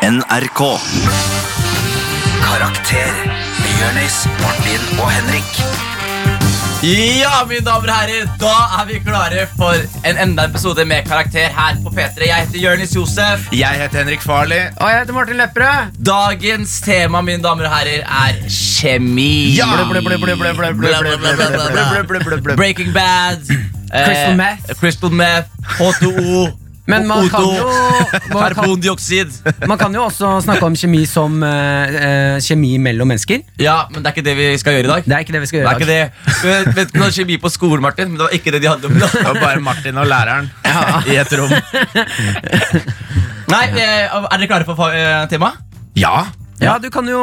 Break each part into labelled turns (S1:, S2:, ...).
S1: NRK. Karakter med Jørnis, Martin og Henrik.
S2: Ja, mine damer og herrer, da er vi klare for en enda episode med karakter her på P3. Jeg heter Jørnis Josef.
S3: Jeg heter Henrik Farley.
S4: Og jeg heter Martin Lepperød.
S2: Dagens tema, mine damer og herrer, er kjemi.
S3: Ja!
S2: Bla, bla, bla, bla, bla, bla, bla, bla, bla, bla, bla. Breaking Bad. eh,
S4: Crystal meth.
S2: Crystal meth, H2O.
S4: Men man kan
S2: O2,
S4: jo- man kan-
S2: Karbondioksid.
S4: Man kan jo også snakke om kjemi som eh, eh, kjemi mellom mennesker.
S2: Ja, men det er ikke det vi skal gjøre i dag.
S4: Det er ikke det vi skal
S2: Det
S4: gjøre
S2: er ikke det. Vet- Vet du noe kjemi på skolen, Martin? Men det var ikke det de hadde om det.
S3: Det var bare Martin og læreren i et rom.
S2: Nei, eh, Er dere klare for fa- eh, temaet?
S3: Ja.
S4: Ja, du kan jo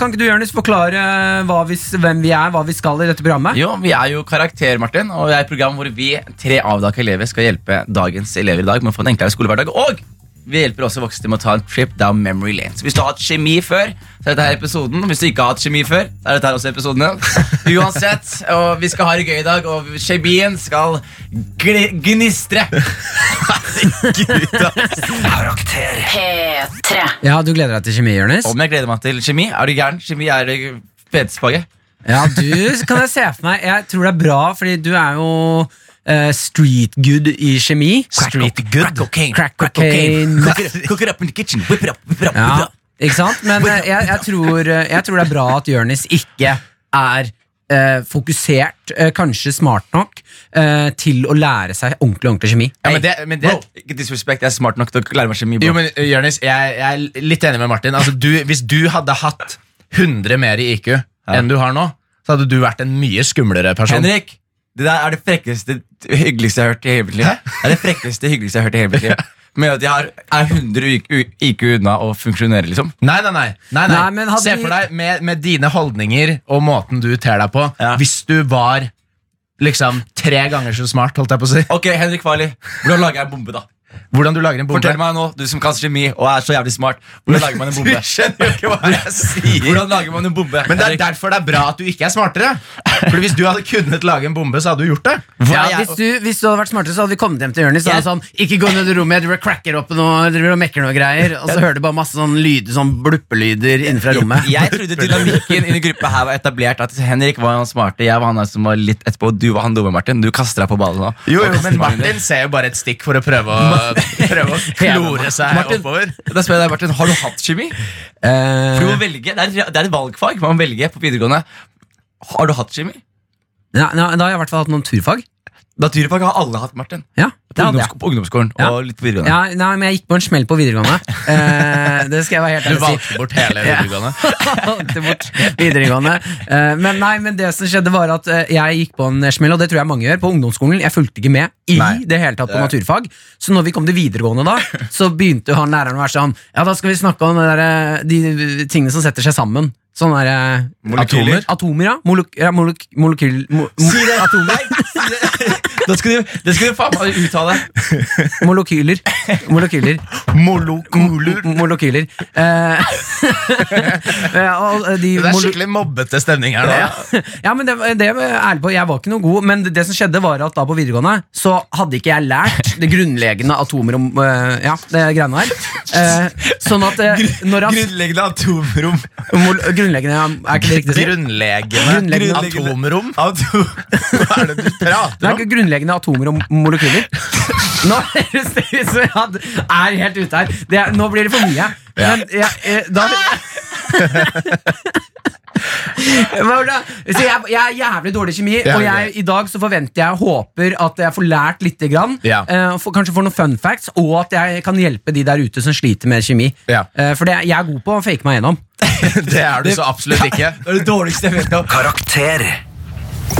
S4: Kan ikke du, Jonis, forklare eh, hva vi, s- hvem vi er, hva vi skal i dette programmet?
S2: Jo, vi er jo Karakter, Martin, og det er et program hvor vi tre avdaka elever skal hjelpe dagens elever i dag med å få en enklere skolehverdag. Og vi hjelper også voksne med å ta en trip down memory lane. Så hvis du har hatt kjemi før, så er dette her episoden. Hvis du ikke har hatt kjemi før, så er dette her også episoden. Uansett, og vi skal ha det gøy i dag, og kjemien skal gli- gnistre.
S1: Karakter.
S5: P3
S4: Ja, du gleder deg til kjemi, Jonis?
S2: Om jeg gleder meg til kjemi? Er du gæren? Kjemi er det feteste faget.
S4: Ja, du kan jeg se for meg. Jeg tror det er bra, fordi du er jo eh, street good i kjemi.
S2: Street good. Crack cocaine.
S4: Crack cocaine.
S2: Cook it up- Cook it up in the kitchen. Whip it up. Whip it up. Whip it
S4: Ja,
S2: up.
S4: ikke sant? Men eh, jeg, jeg, tror, eh, jeg tror det er bra at Jonis ikke er eh, fokusert, eh, kanskje smart nok, eh, til å lære seg ordentlig ordentlig kjemi.
S3: Ja, men det, men det,
S2: Ikke disrespect, jeg er smart nok til å lære meg kjemi.
S3: jo,
S2: Bro.
S3: men Jørnis, jeg, jeg er litt enig med Martin. Altså, du, hvis du hadde hatt 100 mer i IQ enn du har nå, så hadde du vært en mye skumlere person.
S2: Henrik, det der er det frekkeste, hyggeligste jeg har hørt i hele mitt liv. Det er det frekkeste, hyggeligste jeg har hørt i hele mitt liv. Med at jeg har, er 100 IQ, IQ unna å funksjonere, liksom.
S3: Nei, nei, nei. nei, nei.
S4: Nei, men hadde
S3: Se
S4: vi-
S3: for deg med, med dine holdninger og måten du ter deg på,
S2: Ja.
S3: hvis du var liksom tre ganger så smart, holdt jeg på å si.
S2: Ok, Henrik Farley, hvordan lager jeg en bombe, da?
S3: Hvordan du lager en bombe.
S2: Fortell meg nå, du som kan kjemi og er så jævlig smart. Hvordan lager man en bombe?
S3: Du skjønner jo ikke hva jeg sier.
S2: Hvordan lager man en bombe?
S3: Men det er
S2: Henrik?
S3: derfor det er bra at du ikke er smartere. For Hvis du hadde kunnet lage en bombe, så hadde du gjort det.
S4: Ja,
S2: jeg-
S4: hvis, du, hvis du hadde vært smartere, så hadde vi kommet hjem til Jonis.
S2: Jeg-
S4: Yeah. Sånn, ikke gå ned i rommet, jeg driver og cracker opp noe, jeg driver og mekker noe greier. Og så hører du bare masse sånn lyder, sånn bluppelyder innenfra rommet.
S2: Jeg trodde dynamikken i den gruppa her var etablert. At Henrik var han smarte, jeg var han som var litt etterpå, og du var han dumme, Martin. Du kaster deg på ballen nå.
S3: Jo,
S2: Og
S3: jo,
S2: kaster
S3: men
S2: ballen din.
S3: Martin ser jo bare et stikk for å prøve å, prøve å klore seg
S2: Martin,
S3: oppover.
S2: da spør jeg deg, Martin, har du hatt kjemi? For
S4: Eh,
S2: du må velge, det, er, det er et valgfag man velger på videregående. Har du hatt kjemi?
S4: Ja, ja, da har jeg i hvert fall hatt noen turfag.
S2: Naturfag har alle hatt, Martin.
S4: Ja, det
S2: På,
S4: hadde jeg.
S2: ungdomsko- på ungdomsskolen
S4: Ja.
S2: og litt på videregående.
S4: Ja, nei, men jeg gikk på en smell på videregående. Eh, det skal jeg være helt
S3: Du
S4: ærlig og si.
S3: valgte bort hele videregående.
S4: Alltid bort videregående. Eh, men nei, men det som skjedde var at eh, jeg gikk på en smell, og det tror jeg mange gjør, på ungdomsskolen. Jeg fulgte ikke med i
S3: Nei.
S4: det hele tatt på naturfag. Så når vi kom til videregående da, så begynte han læreren å være sånn Ja, da skal vi snakke om det der, eh, de tingene som setter seg sammen. Sånne der, eh,
S3: Molekyler?
S4: Atomer, ja. Molok ja molok molekyl... Mo mo
S2: Si det! Nei, si det. Da skal du, det skal du faen meg uttale.
S4: molekyler. Molekyler.
S3: Molokoler.
S4: Molekyler. Eh, eh, og de
S3: Det er
S4: mole-
S3: skikkelig mobbete stemning her nå.
S4: Ja, ja men det, det er jeg ærlig på, jeg var ikke noe god, men det som skjedde var at da på videregående så hadde ikke jeg lært det grunnleggende atomer om eh, Ja, det greiene her. Eh, sånn at eh, når han
S2: Grunnleggende atomrom.
S4: mol- Grunnleggende, ja, er ikke det riktig å si?
S3: Grunnleggende,
S4: Grunnleggende.
S3: atomrom. Hva er det du prater
S4: Nei,
S3: om?
S4: ikke grunnleggende atomer og molekyler. Nå høres det ut som jeg hadde- er helt ute her. Det, er- nå blir det for mye. Men jeg, eh, da Hva var det? Så jeg, jeg er jævlig dårlig i kjemi,
S3: Ja,
S4: og jeg, i dag så forventer jeg og håper at jeg får lært lite grann.
S3: Ja.
S4: eh, og får- kanskje får noen fun facts, og at jeg kan hjelpe de der ute som sliter med kjemi.
S3: Ja.
S4: Eh, for det, jeg er god på å fake meg gjennom.
S3: Det er du så absolutt ikke.
S2: Det er det dårligste jeg vet om.
S1: Karakter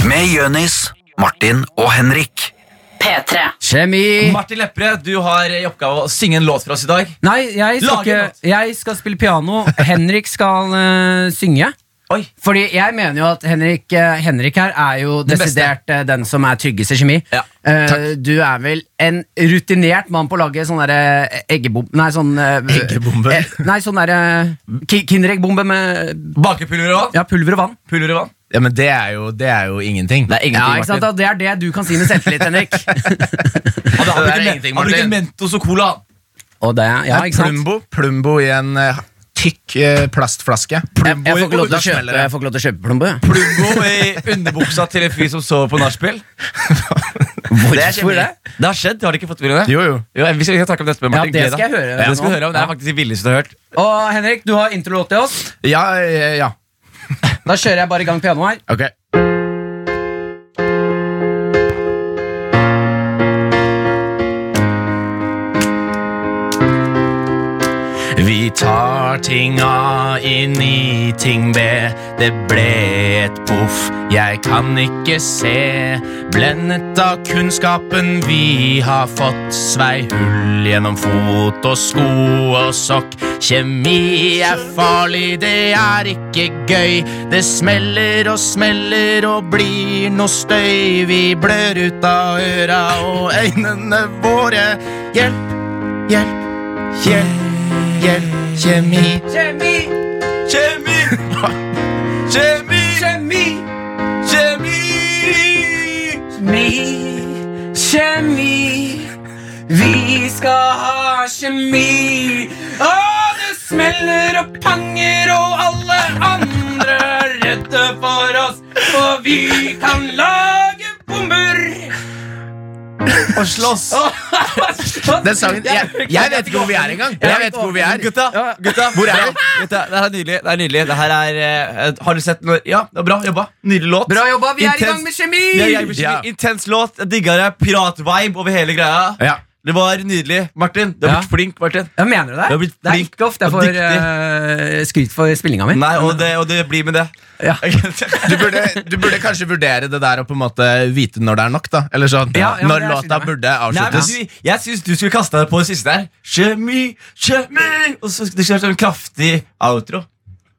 S1: med Jørnis, Martin og Henrik.
S5: P3
S4: Kjemi!
S2: Martin Lepperød, du har i oppgave å synge en låt for oss i dag.
S4: Nei, jeg skal,
S2: Lag en
S4: ikke, jeg skal spille piano. Henrik skal eh, synge.
S2: Oi,
S4: Fordi jeg mener jo at Henrik, eh, Henrik her er jo
S2: Den beste.
S4: desidert eh, den som er tryggest i kjemi.
S2: Ja,
S4: Eh, du er vel en rutinert mann på å lage sånn derre eggebom... Nei, sånn eh,
S3: Eggebombe?
S4: eh, nei, sånn derre ki Kindereggbombe med
S2: Bakepulver og vann?
S4: ja, pulver og vann.
S2: Pulver og vann?
S3: Ja, men det er jo, det er jo ingenting.
S2: Det er
S4: Ja,
S2: ingenting,
S4: ikke sant?
S2: Martin.
S4: Da, Det er det du kan si med selvtillit, Henrik.
S2: Han
S3: Det er
S2: bruker,
S3: ingenting,
S2: han bruker
S3: Martin.
S2: Mentos og cola. han.
S4: Og det, ja,
S3: Nei,
S4: ikke sant?
S3: Plumbo, Plumbo i en eh, tykk eh, plastflaske.
S4: Jeg, jeg, får ikke lov til å
S3: Da smeller
S4: kjøpe,
S3: det.
S4: jeg får ikke lov til å kjøpe plombe.
S2: Pluggo i underbuksa til en fyr som sover på nachspiel. Det er kjempegøy. Det har skjedd, har du ikke fått med deg det?
S3: Jo, jo.
S2: vi skal vi skal snakke om dette med
S4: Ja,
S2: Martin.
S4: det
S2: Gleder.
S4: skal jeg høre
S2: Ja,
S4: nå.
S2: det skal du høre om. Det er faktisk det villeste du har hørt.
S4: Og Henrik, du har introlåt til oss.
S3: Ja, eh, ja.
S4: Da kjører jeg bare i gang pianoet her.
S3: Ok. Vi tar ting A inn i ting B. Det ble et poff, jeg kan ikke se. Blendet av kunnskapen vi har fått. Svei hull gjennom fot og sko og sokk. Kjemi er farlig, det er ikke gøy. Det smeller og smeller og blir noe støy. Vi blør ut av øra og øynene våre. Hjelp, hjelp, hjelp. Hjelp, kjemi
S4: Kjemi,
S2: Kjemi! Kjemi!
S4: kjemi,
S2: Kjemi!
S4: mi, kjemi. Vi skal ha kjemi. Å, det smeller og panger, og alle andre er redde for oss. For vi kan lage bomber.
S3: og slåss. Den sangen jeg, jeg vet ikke hvor vi er engang. Jeg vet ikke hvor vi er.
S2: Gutta, gutta,
S3: Hvor er vi?
S2: Gutta, det her er nydelig. Det er nydelig. Det her er, eh, har du sett noe? Ja, det er bra jobba. Nydelig låt.
S4: Bra jobba, vi er i
S2: Intens-
S4: gang med kjemi.
S2: Vi er i gang med kjemi.
S3: Ja.
S2: Intens låt. Jeg digga det. Piratvibe over hele greia.
S3: Ja.
S2: Det var nydelig. Martin, du har
S4: Ja.
S2: blitt flink. Martin
S4: Jeg mener du det?
S2: Du har blitt
S4: det er
S2: flink
S4: ikke ofte jeg
S2: og
S4: får
S2: dyktig.
S4: eh, skryt for spillinga mi.
S2: Nei, og det, og det blir med det.
S4: Ja.
S3: Du burde, du burde kanskje vurdere det der og på en måte vite når det er nok. da Eller sånn,
S4: Ja, ja,
S3: Når
S4: det er
S3: låta
S4: fint, ja.
S3: burde
S2: Nei, men
S3: avsluttes.
S2: du, jeg syns du skulle kaste deg på det siste der. Kjemi, kjemi Og så Det skulle vært en kraftig outro.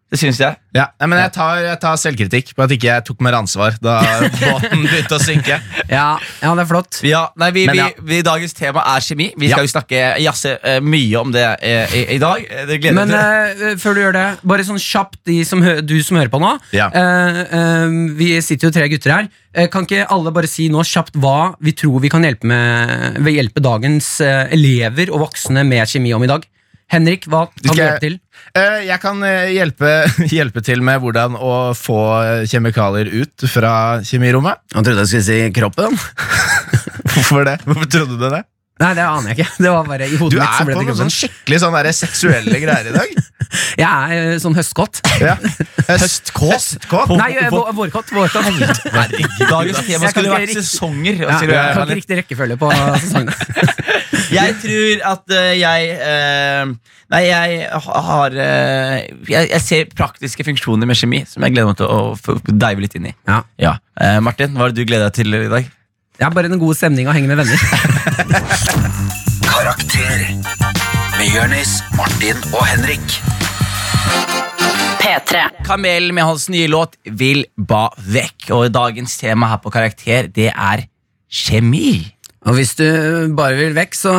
S2: Det syns jeg.
S3: Ja, nei, men jeg tar, jeg tar selvkritikk på at ikke jeg tok mer ansvar da båten begynte å synke.
S4: Ja, ja, det er flott.
S2: Ja, nei, vi,
S3: Men ja.
S2: Vi, vi, Dagens tema er kjemi. Vi skal
S3: Ja.
S2: jo snakke jazze eh, mye om det eh, i, i dag. Eh, Det gleder
S4: Men
S2: jeg meg til.
S4: eh, før du gjør det, bare sånn kjapt de som hø du som hører på nå.
S3: Ja.
S4: Eh, eh, vi sitter jo tre gutter her. Eh, kan ikke alle bare si nå kjapt hva vi tror vi kan hjelpe med ved hjelpe dagens eh, elever og voksne med kjemi om i dag? Henrik, hva kan du
S3: skal-
S4: hjelpe til?
S3: Eh, Jeg kan eh, hjelpe, hjelpe til med hvordan å få kjemikalier ut fra kjemirommet.
S4: Han trodde jeg skulle si kroppen.
S3: Hvorfor det? Hvorfor trodde du det?
S4: Nei, det aner jeg ikke. Det var bare i
S3: Du
S4: hodet mitt så
S3: er
S4: ble
S3: på
S4: det
S3: noen
S4: kroppen.
S3: sånn skikkelig sånn der seksuelle greier i dag. Eh,
S4: Jeg er eh, sånn høstkott.
S3: Ja. Høstkåt. Høstkåt.
S4: Nei, eh, vå- vårkott. vårkott.
S2: Dagens
S4: Jeg
S2: tema
S4: kan
S2: skulle
S4: ikke
S2: vært
S4: riktig-
S2: sesonger. og
S4: Ja,
S2: sier
S4: jeg
S2: du-
S4: kan ikke riktig rekkefølge på sesongene.
S2: Jeg tror at eh, jeg eh, Nei, jeg ha- har eh, jeg, jeg ser praktiske funksjoner med kjemi som jeg gleder meg til å få dive litt inn i.
S4: Ja.
S2: Ja. Eh, Martin, hva er det du gleder deg til i dag?
S4: Jeg har bare den gode stemninga og henger med venner.
S1: Karakter med Jørnis, Martin og Henrik.
S5: P3.
S2: Kamelen med hans nye låt Vil ba vekk. Og dagens tema her på Karakter, det er kjemi.
S4: Og hvis du bare vil vekk, så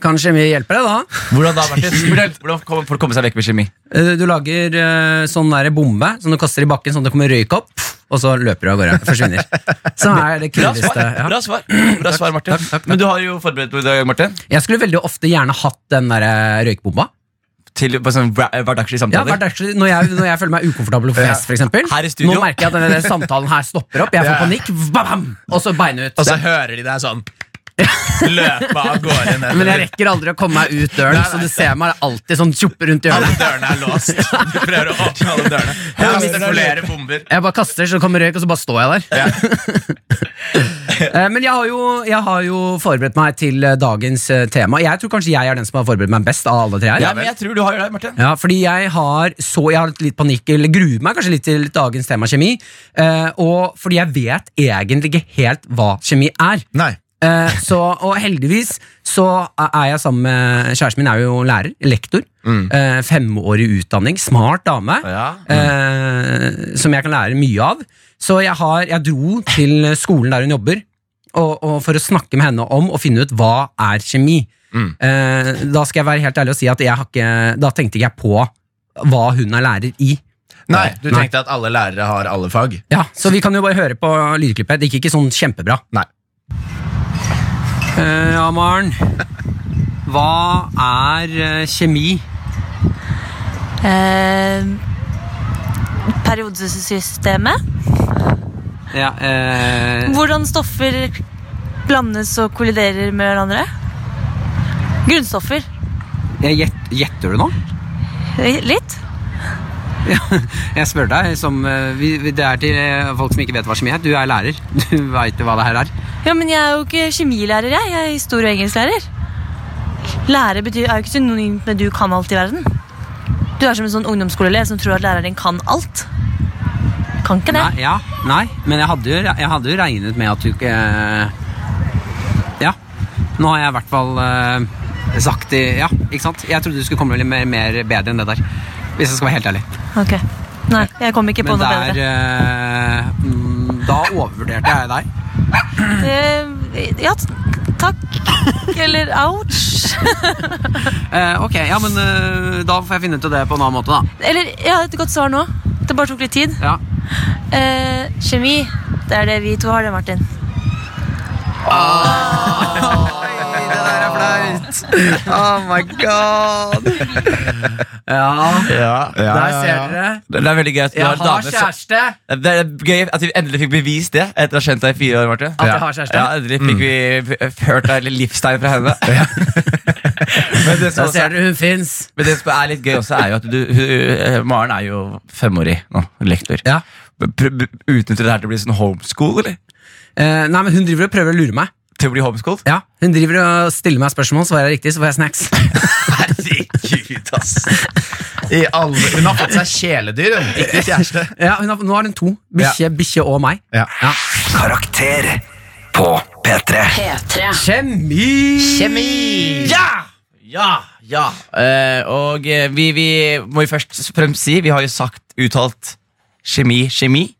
S4: kan kjemi hjelpe deg, da.
S2: Hvordan da, Martin? Hvordan- Hvordan kommer folk komme seg vekk med kjemi?
S4: Eh, Du lager eh, sånn der bombe som du kaster i bakken, sånn det kommer røyk opp, og så løper du av gårde. Forsvinner. Så er det
S2: Bra
S4: kuleste.
S2: svar,
S4: Ja.
S2: bra svar, bra svar Martin. Men du har jo forberedt deg i dag, Martin,
S4: Jeg skulle veldig ofte gjerne hatt den der eh, røykbomba.
S2: til på sånn hver- hverdagslige
S4: Ja,
S2: samtaler.
S4: hvert dagslig- når, jeg, når jeg føler meg ukomfortabel på fest, for eksempel
S2: Her i studio.
S4: Nå merker jeg at denne der samtalen her stopper opp. Jeg får panikk, bam, og så bein ut.
S3: Og så hører de deg sånn løpe av gårde ned.
S4: Men jeg rekker aldri å komme meg ut døren, så du ser meg alltid sånn tjopp rundt hjørnet.
S3: Alle dørene er låst. Du prøver å åpne alle dørene. Jeg kaster flere bomber.
S4: Jeg bare kaster, så kommer røyk, og så bare står jeg der. Eh, Men jeg har, jo, jeg har jo forberedt meg til eh, dagens eh, tema. Jeg tror kanskje jeg er den som har forberedt meg best av alle tre her.
S2: Ja, men jeg tror du har jo det, Martin.
S4: Ja, fordi jeg har så jeg har litt panikk, eller gruer meg kanskje litt til dagens tema kjemi. eh, og fordi jeg vet egentlig ikke helt hva kjemi er.
S3: Nei.
S4: Eh, så, og heldigvis så er jeg sammen med Kjæresten min er jo lærer, lektor. Eh, femårig utdanning. Smart dame.
S2: Mm. Ja. Mm.
S4: Eh, som jeg kan lære mye av. Så jeg, har, jeg dro til skolen der hun jobber, og, og for å snakke med henne om og finne ut hva er kjemi.
S2: Mm.
S4: Eh, da skal jeg være helt ærlig og si at jeg har ikke, da tenkte ikke jeg på hva hun er lærer i.
S3: Nei, Du
S4: Nei.
S3: tenkte at alle lærere har alle fag?
S4: Ja, Så vi kan jo bare høre på lydklippet. Det gikk ikke sånn kjempebra.
S3: Nei.
S4: Eh, ja, Maren. hva er eh, kjemi?
S6: Eh, periodesystemet.
S4: Ja, eh,
S6: Hvordan stoffer blandes og kolliderer med hverandre. Grunnstoffer.
S4: jeg gjett- Gjetter du nå?
S6: Litt.
S4: Jeg spør deg som eh, vi, vi- Det er til eh, folk som ikke vet hva kjemi er. Du er lærer. Du veit jo hva det her er.
S6: Ja, men jeg er jo ikke kjemilærer, jeg. Jeg er historie- og engelsklærer. Lære betyr, er jo ikke synonymt med du kan alt i verden. Du er som en sånn ungdomsskoleelev som tror at læreren din kan alt. Kan ikke det.
S4: Nei, ja, nei men jeg hadde, jo, re- jeg hadde jo regnet med at du ikke eh, Ja. Nå har jeg i hvert fall eh, sagt det Ja, ikke sant? Jeg trodde du skulle komme litt mer, mer bedre enn det der. Hvis jeg skal være helt ærlig.
S6: Ok. Nei, jeg kom ikke på
S4: Men
S6: noe
S4: det
S6: bedre.
S4: er eh, mm, Da overvurderte jeg deg.
S6: Eh, ja, t- takk. Eller ouch.
S4: Eh, ok, ja, men eh, da får jeg finne ut av det på en annen måte, da.
S6: Eller jeg har et godt svar nå. Det bare tok litt tid.
S4: Ja.
S6: Eh, kjemi. Det er det vi to har, det, Martin.
S4: Det der er flaut! Oh my god! Ja, der ser dere.
S2: Det er veldig gøy at du har
S4: Jeg
S2: en
S4: har
S2: dame som-
S4: kjæreste!
S2: Det er gøy at vi endelig fikk bevist det etter å ha kjent deg i fire år. Marte
S4: At jeg har kjæreste?
S2: Ja, Endelig fikk vi f- hørt deg litt livstegn fra henne. men, det som
S4: Da
S2: også,
S4: ser dere hun fins.
S2: men det som er litt gøy også, er jo at du, hun- hun- Maren er jo femårig nå. Lektor.
S4: Ja.
S2: Pr- pr- Utnytter det her til å bli sånn homeschool, eller?
S4: Eh, nei, men Hun driver og prøver å lure meg.
S2: Til å bli homeschool?
S4: Ja, Hun driver og stiller meg spørsmål, svarer jeg riktig, så får jeg snacks.
S2: Herregud, ass.
S3: I alle, hun har fått seg kjæledyr, hun. Ikke kjæreste.
S4: Ja, hun har, Nå har hun to. Bikkje bikkje og meg.
S3: Ja.
S1: Karakter på P3.
S5: P3.
S4: Kjemi!
S2: Ja! Ja, ja. Eh, og eh, vi, vi må jo først og fremst si Vi har jo sagt, uttalt kjemi, kjemi.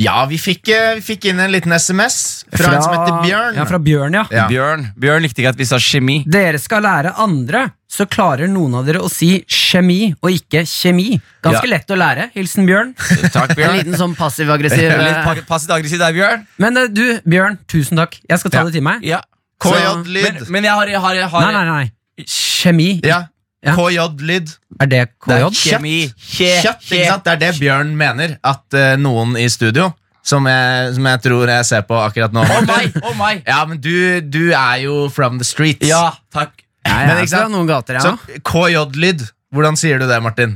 S3: Ja, vi fikk, eh, vi fikk inn en liten SMS fra, en som heter Bjørn.
S4: Ja, fra Bjørn, ja.
S3: Ja.
S2: Bjørn, Bjørn likte ikke at vi sa kjemi.
S4: Dere skal lære andre, så klarer noen av dere å si kjemi og ikke kjemi. Ganske lett å lære. Hilsen Bjørn.
S2: Takk,
S4: En
S2: Bjørn.
S4: liten sånn passiv-aggressiv
S2: Ja,
S4: eh,
S2: Litt pa- passivt aggressiv der, Bjørn.
S4: Men eh, du, Bjørn, tusen takk. Jeg skal ta
S3: Ja.
S4: det til meg.
S2: Ja. Men,
S3: KJ-lyd.
S2: men jeg har, jeg har, jeg har
S4: Nei, nei, nei. Kjemi.
S3: Ja.
S4: Ja.
S3: KJ-lyd.
S4: Er det
S3: Det er
S4: KJ?
S3: kjøtt.
S2: Kjemi. Kje-
S3: Kjøtt,
S2: kje-
S3: ikke sant? Det er det Bjørn mener. At eh, noen i studio, som jeg, som jeg tror jeg ser på akkurat nå
S2: Å
S3: Martin.
S2: meg, å meg.
S3: Ja, men du, du er jo from the streets.
S2: Ja, takk.
S4: Ja,
S3: Men
S4: jeg
S3: ikke
S4: er fra
S3: sant?
S4: noen gater,
S3: Så
S4: ja.
S3: KJ-lyd. Hvordan sier du det, Martin?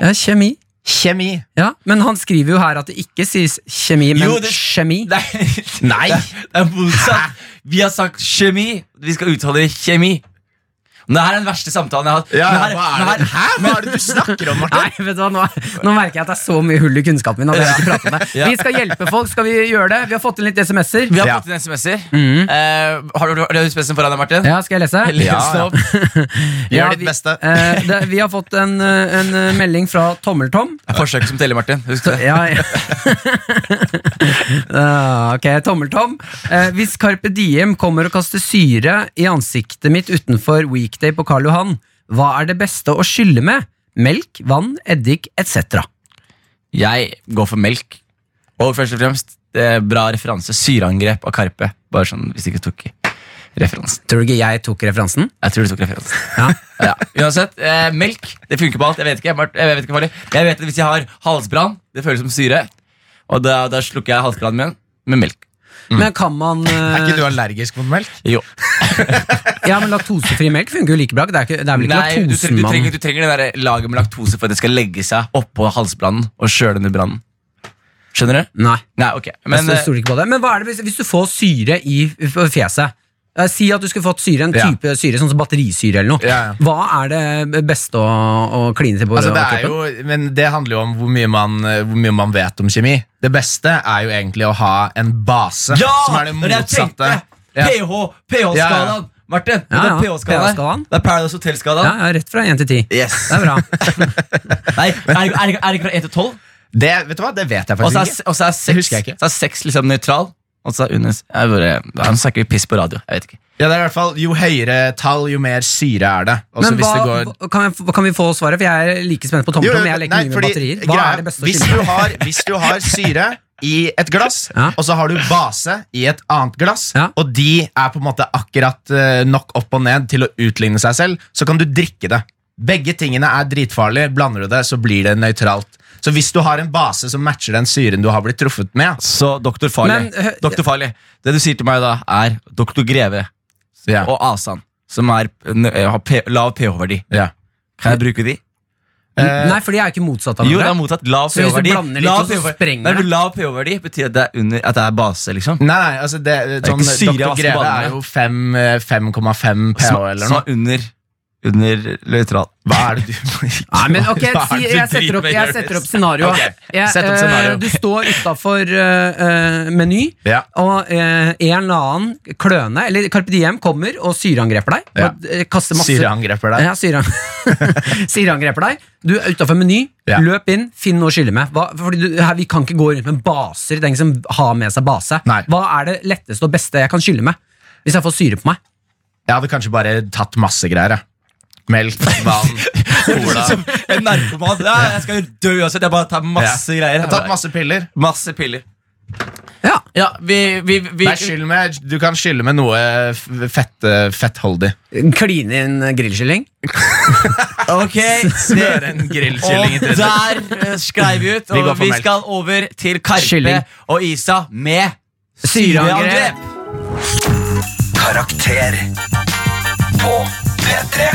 S4: ja kjemi.
S3: Kjemi.
S4: Ja, Men han skriver jo her at det ikke sies kjemi, men
S2: Jo, det-
S4: kjemi.
S2: Nei.
S3: Nei.
S2: Det er- det er motsatt. Vi har sagt kjemi. Vi skal uttale kjemi. Men Det her er den verste samtalen jeg har hatt.
S3: Ja,
S2: Men her-
S3: hva
S2: men
S3: er
S2: her-
S3: det? Hæ? Hva er det du snakker om, Martin?
S4: Nei, vet du hva, nå, nå merker jeg at det er så mye hull i kunnskapen min. At jeg ikke prater om det
S2: Ja.
S4: Vi skal hjelpe folk. skal Vi gjøre det Vi har fått inn litt SMS-er.
S2: Vi har
S3: Ja.
S2: fått inn SMS-er. Eh, har du, har du SMS-en foran deg, Martin?
S4: Ja, skal jeg lese?
S2: Les
S3: Ja,
S2: den
S3: ja.
S2: opp.
S3: Gjør
S4: Ja,
S3: ditt
S4: vi-
S3: beste.
S4: Eh, det, vi har fått en, eh, en eh, melding fra Tommeltom.
S2: Det er forsøket som teller, Martin. Husk det.
S4: Ja, ja. Ah, ok, Tommeltom. Eh, hvis Carpe Diem kommer og kaster syre i ansiktet mitt utenfor Weekday på Karl Johan, hva er det beste å skylle med? Melk, vann, eddik etc.
S2: Jeg går for melk. Og først og fremst, eh, bra referanse. Syreangrep av Karpe. Bare sånn, hvis du ikke tok referansen.
S4: Tror du ikke jeg tok referansen?
S2: Jeg tror du tok referansen.
S4: Ja.
S2: Ja. Uansett, eh, melk det funker på alt. Jeg vet ikke, Mart- jeg vet ikke hva det Jeg vet at Hvis jeg har halsbrann, det føles som syre. Og da, da slukker jeg halsbrannen min med melk.
S4: Men kan man eh,
S3: Er ikke du allergisk mot melk?
S2: Jo.
S4: Ja, men laktosefri melk funker jo like bra. Det er, ikke, det er vel ikke
S2: Nei, du, tre-
S4: laktosen
S2: du,
S4: man
S2: trenger, du trenger det der laget med laktose for at det skal legge seg oppå halsbrannen og kjøle ned brannen. Skjønner du?
S4: Nei,
S2: Nei, ok.
S4: men,
S2: Men,
S4: jeg
S2: eh,
S4: Altså, stoler ikke på det. Men hva er det hvis, hvis du får syre i f- fjeset? Eh, Si at du skulle fått syre, en
S3: Ja.
S4: type syre, sånn som batterisyre eller noe.
S3: Ja, ja.
S4: Hva er det beste å, å kline til på
S3: Altså, det er
S4: kroppen?
S3: jo, men det handler jo om hvor mye, man, eh, hvor mye man vet om kjemi. Det beste er jo egentlig å ha en base
S2: Ja!
S3: som er det
S2: når jeg
S3: motsatte.
S2: tenkte
S3: Ja.
S2: PH,
S3: Ja,
S2: PH-skalaen,
S3: ja.
S2: Martin.
S4: Ja, ja.
S2: Det er PH-skalaen.
S4: PH-skalaen.
S2: Det er Paradise
S4: Ja,
S2: Hotel-skalaen.
S4: ja, rett fra 1 til 10.
S2: Yes.
S4: Det er
S3: Altså,
S4: bra.
S2: Nei, er det er det ikke er det ikke fra 1 til 12?
S3: Det, vet du hva? det vet jeg
S2: Og så
S3: faktisk
S2: er,
S3: ikke.
S2: og så er sex,
S3: husker jeg ikke.
S2: så er sex liksom nøytral. Og så er under jeg bare, ja, Nå snakker vi piss på radio. Jeg vet ikke.
S3: Ja, det er i hvert fall, Jo høyere tall, jo mer syre er det. Og så
S4: Men
S3: hvis
S4: hva,
S3: det går...
S4: hva- kan, jeg, få- kan vi få svaret? For jeg er like spent på tommeltom.
S3: Jo, jo,
S4: men Jeg leker
S3: nei,
S4: mye med
S3: fordi-
S4: batterier. Hva
S3: greia-
S4: er det beste å
S3: hvis
S4: skylle?
S3: du, har, hvis du har syre, i et glass,
S4: Ja.
S3: og så har du base i et annet glass,
S4: Ja.
S3: og de er på en måte akkurat eh, nok opp og ned til å utligne seg selv, så kan du drikke det. Begge tingene er dritfarlige. Blander du det, så blir det nøytralt. Så hvis du har en base som matcher den syren du har blitt truffet med altså,
S2: Så doktor Farley,
S4: Men, hø-
S2: doktor Farley, det du sier til meg da, er doktor Greve
S3: Ja.
S2: og Asan, som er, n- eh, har P- lav pH-verdi.
S3: ja.
S2: Kan jeg bruke de?
S3: Eh,
S4: Nei, for de er jo ikke motsatt av
S2: Jo, det er
S4: hverandre.
S2: mottatt lav
S4: Så hvis du
S2: pH-verdi.
S4: blander litt,
S2: Lav
S4: så
S2: pH-verdi.
S4: sprenger
S2: Nei,
S4: det.
S2: men Lav pH-verdi betyr at det er, under, at det er base, liksom.
S3: Nei, nei, altså det,
S2: er
S3: sånn,
S2: ikke syre i
S3: Dr.
S2: vassen
S3: Greve
S2: ballene.
S3: er jo fem, eh, 5,5 pH
S2: Som,
S3: eller
S2: som
S3: noe.
S2: er under, under nøytral.
S3: Hva er det du
S4: Nei, men ok,
S3: Hva
S4: si,
S3: er det du
S4: jeg setter opp,
S3: driver
S4: jeg
S3: med,
S4: setter opp
S3: Jonis?
S4: scenarioet.
S3: Ok,
S4: Jeg,
S3: sett opp
S4: eh,
S3: scenario.
S4: du står utafor Meny,
S3: Ja.
S4: og eh, en eller annen kløne, eller Carpe Diem, kommer og syreangreper deg. Og, eh, kaster masse
S3: Syreangreper deg.
S4: Ja, syre- Syreangreper deg. Du er utafor Meny,
S3: Ja.
S4: løp inn, finn noe å skylle med. Hva, fordi du, her, vi kan ikke gå rundt med baser. Det er ingen som har med seg base.
S3: Nei.
S4: Hva er det letteste og beste jeg kan skylle med? Hvis jeg får syre på meg.
S3: Jeg hadde kanskje bare tatt masse greier. jeg. Melk, vann, cola.
S2: Som en narkoman. Ja, jeg skal dø uansett. Jeg bare tar masse
S3: Ja. Jeg
S2: greier.
S3: har tatt masse piller.
S2: Masse piller.
S4: Ja,
S2: Ja, vi, vi, vi
S3: Nei, skyll med, du kan skylle med noe f- fett, eh, fettholdig.
S4: Kline inn grillkylling.
S2: Ok,
S3: Smør en grillkylling i
S2: Og
S3: trynet.
S2: der eh, sklei vi ut,
S3: Vi går
S2: og
S3: for
S2: vi
S3: melk.
S2: skal over til Karpe
S4: Kylling.
S2: og Isa med
S4: Syreangrep.
S2: syreangrep.
S1: Karakter på P3.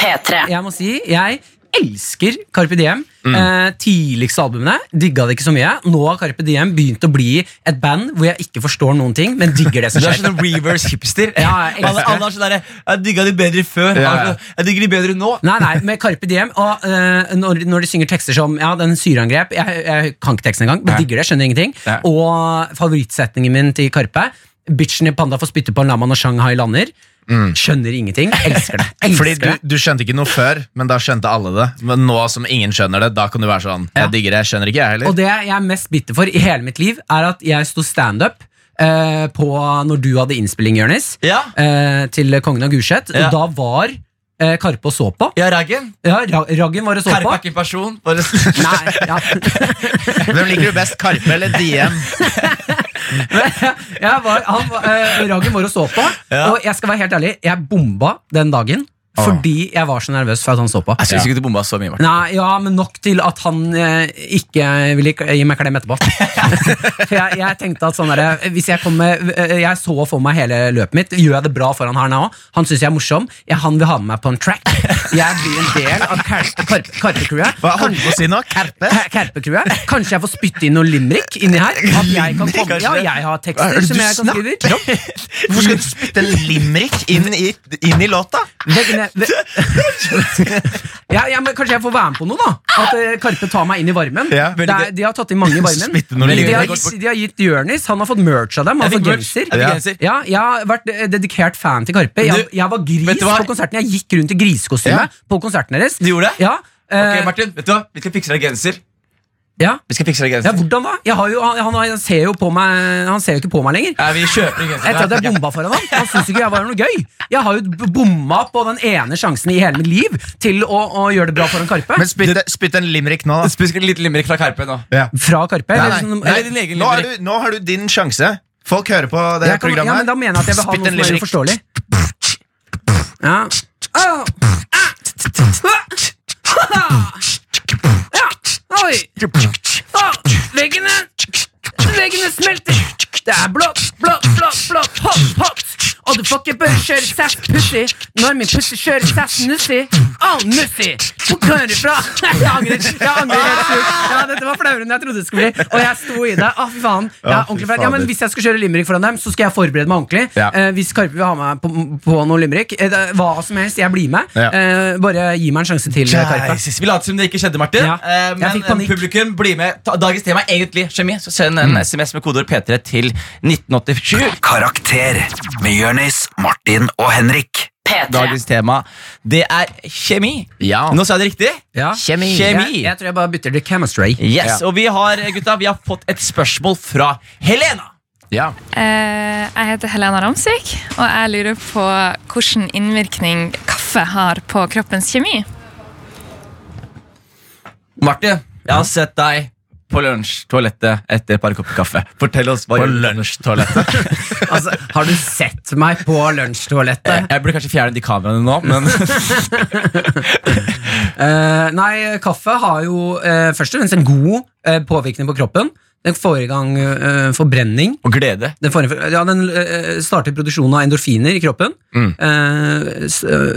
S5: P3.
S4: Jeg må si, jeg elsker Carpe Diem. Eh, tidligste albumene digga det ikke så mye. Nå har Carpe Diem begynt å bli et band hvor jeg ikke forstår noen ting, men digger det
S2: Du
S4: som
S2: er
S4: skjer.
S2: sånn en reverse hipster.
S4: Ja, jeg elsker
S2: alle,
S4: det.
S2: alle er sånn derre Jeg digga de bedre før.
S3: Ja, ja.
S2: Alle- Jeg digger de bedre nå.
S4: Nei, nei, med Carpe Diem og eh, når, når de synger tekster som Ja, den syreangrep Jeg, jeg kan ikke teksten engang, men digger det, skjønner ingenting.
S2: Nei.
S4: Og favorittsetningen min til Karpe Bitchen i Panda får spytte på en lama når Shanghai lander. Skjønner ingenting. Elsker det. Elsker
S3: Fordi du,
S4: det.
S3: du skjønte ikke noe før, men da skjønte alle det. Men nå som ingen skjønner det, da kan du være sånn Jeg digger det, jeg skjønner ikke jeg heller.
S4: Og det jeg er mest bitter for i hele mitt liv, er at jeg sto standup uh, på når du hadde innspilling, Jonis,
S2: Ja,
S4: eh, til Kongen av Gulset.
S2: Ja.
S4: Og da var eh, Karpe og så på.
S2: ja Raggen.
S4: Ja, Ra- Raggen var og så
S2: Karpe
S4: på.
S2: er ikke en person. Bare
S4: Nei, ja.
S3: Hvem liker du best, Karpe eller Diem?
S4: jeg var, han, var- eh, Ragen var og så på, og jeg skal være helt ærlig, jeg bomba den dagen. Fordi jeg var så nervøs for at han så på.
S2: Jeg syns ikke du bomba så mye. Martin.
S4: Nei, ja, men nok til at han eh, ikke ville k- gi meg klem etterpå. for jeg, jeg tenkte at sånn der, hvis jeg, kommer, eh, jeg så for meg hele løpet mitt. Gjør jeg det bra foran her nå? Han syns jeg er morsom. Ja, han vil ha med meg på en track. Jeg blir en del av Karpe-crewet.
S3: Hva holdt du på å si nå? Karpe?
S4: Her- Kerpekrue. Kanskje jeg får spytte inn noe limerick inni her? At jeg kan komme, ja, jeg har tekster som jeg kan skrive.
S3: Hvorfor skal du spytte en limerick inn i, inn i låta?
S4: Veggene- ve- ja, ja, men kanskje jeg får være med på noe, da. At eh, Karpe tar meg inn i varmen.
S3: Ja,
S4: det
S3: veldig
S4: er,
S3: gøy.
S4: de har tatt inn mange i varmen.
S3: Spytte noe
S4: de,
S3: limerick.
S4: har, gitt- de har gitt Jonis. Han har fått merch av dem. Han har
S2: Jeg fikk
S4: fått
S2: merch.
S4: genser.
S2: Jeg
S3: Ja.
S2: fikk genser.
S4: Ja, jeg har vært eh, dedikert fan til Karpe. Jeg,
S2: Du,
S4: jeg var
S2: vet
S4: gris
S2: du hva?
S4: på konserten. Jeg gikk rundt i grisekostyme
S3: Ja.
S4: på konserten deres.
S2: Du gjorde det?
S4: Ja, eh,
S2: Ok, Martin, vet du hva? Vi skal fikse deg genser.
S4: ja.
S2: Vi skal fikse deg
S4: ja,
S2: genser.
S4: hvordan da? Jeg har jo, han, han- han ser jo på meg Han ser jo ikke på meg lenger.
S2: Ja, vi kjøper en genser.
S4: Etter at jeg
S2: Ja.
S4: bomba foran ham. Han syntes ikke jeg var noe gøy. Jeg har jo b- bomma på den ene sjansen i hele mitt liv til å, å gjøre det bra foran Karpe.
S3: Men spytt, spytt en limerick nå, da.
S2: Spis en liten limerick fra Karpe nå.
S3: Ja.
S4: Fra Karpe?
S3: Nei,
S4: eller
S3: nei,
S4: sånn-
S2: Nei,
S4: eller-
S2: din egen
S3: Nå har,
S2: limerick.
S3: du, nå har du din sjanse. Folk hører på det
S4: jeg kan, ja,
S3: programmet.
S4: men da mener jeg at jeg vil ha
S3: Spytt
S4: noe som
S3: en
S4: er
S3: limerick.
S4: uforståelig. Ja. Au. Ja. Oi. Å, Veggene Veggene smelter. Det er blått, blått, blått, blått, hot, hot. Og du får ikke bare kjøre sass pussy når min pussy kjører sass nussy. All nussy. Hvor kommer du fra? Jeg angrer. Jeg angrer helt sjukt. Ja, dette var flauere enn jeg trodde det skulle bli. Og jeg sto i det. Å, fy faen. Ja,
S3: Ja, fy
S4: ordentlig flaut. Ja, men
S3: fader.
S4: hvis jeg skal kjøre limerick foran dem, så skal jeg forberede meg ordentlig.
S3: Ja.
S4: Eh, hvis Karpe vil ha meg på, på noe limerick, eh, det- hva som helst, jeg blir med.
S3: Ja.
S4: Eh, bare gi meg en sjanse til, eh, Karpe.
S2: Jesus, Vi later som det ikke skjedde, Martin.
S4: Ja,
S2: Eh,
S4: jeg
S2: men
S4: fikk panikk.
S2: eh, publikum, bli med. Ta- Dagens tema er egentlig kjemi. Så send en SMS med kodeord P3 til 1987.
S1: Karakter med Jonis, Martin og Henrik.
S5: P3.
S2: Dagens tema det er kjemi.
S3: Ja.
S2: Nå sa jeg det riktig?
S4: Ja.
S2: Kjemi.
S4: Jeg, jeg tror jeg bare bytter til chemistry.
S2: Yes, Og vi har eh, gutta, vi har fått et spørsmål fra Helena.
S3: Ja.
S7: Eh, Jeg heter Helena Ramsvik, og jeg lurer på hvilken innvirkning kaffe har på kroppens kjemi.
S2: Martin, jeg har sett deg på lunsjtoalettet etter et par kopper kaffe. Fortell oss hva
S3: På
S2: gjør du?
S3: lunsjtoalettet.
S4: Altså, har du sett meg på lunsjtoalettet?
S2: Jeg burde kanskje fjerne de kameraene nå, men
S4: Eh, nei, kaffe har jo eh, først og fremst en god eh, påvirkning på kroppen. Den får i gang eh, forbrenning.
S2: Og glede.
S4: Den, får, ja, den eh, starter produksjonen av endorfiner i kroppen.
S3: Mm.
S4: Eh, s- eh,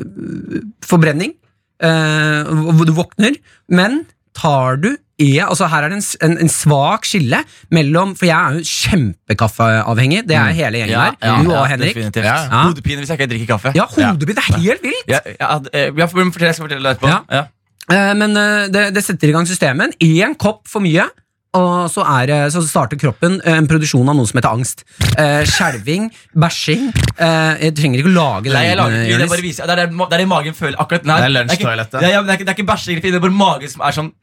S4: forbrenning. eh, hvor du våkner. Men tar du E, altså her er det en, s- en, en svak skille mellom For jeg er jo kjempekaffeavhengig. Det er hele gjengen her. du og Henrik.
S2: definitivt.
S3: Ja.
S2: Hodepine hvis jeg ikke drikker kaffe.
S4: Ja, hodet mitt er helt vilt!
S2: Ja, ja, eh, ja, for- fortell, jeg skal fortelle deg etterpå.
S4: Ja.
S2: Ja.
S4: Eh, Men eh, det, det setter i gang systemet. Én kopp for mye, og så, er, det- så starter kroppen eh, en produksjon av noe som heter angst. Eh, Skjelving, bæsjing. eh, Jeg trenger ikke å lage
S2: Nei, jeg
S4: den.
S2: lager ikke
S4: eh,
S2: lyd, jeg
S4: Jonis.
S2: bare viser Det er det, ma- det er det magen føler akkurat nei,
S3: Det er
S2: ikke-
S3: lunsjtoalettet.
S2: Det er, ja, men det er ikke, det er ikke bæsjing, det er bare magen som er sånn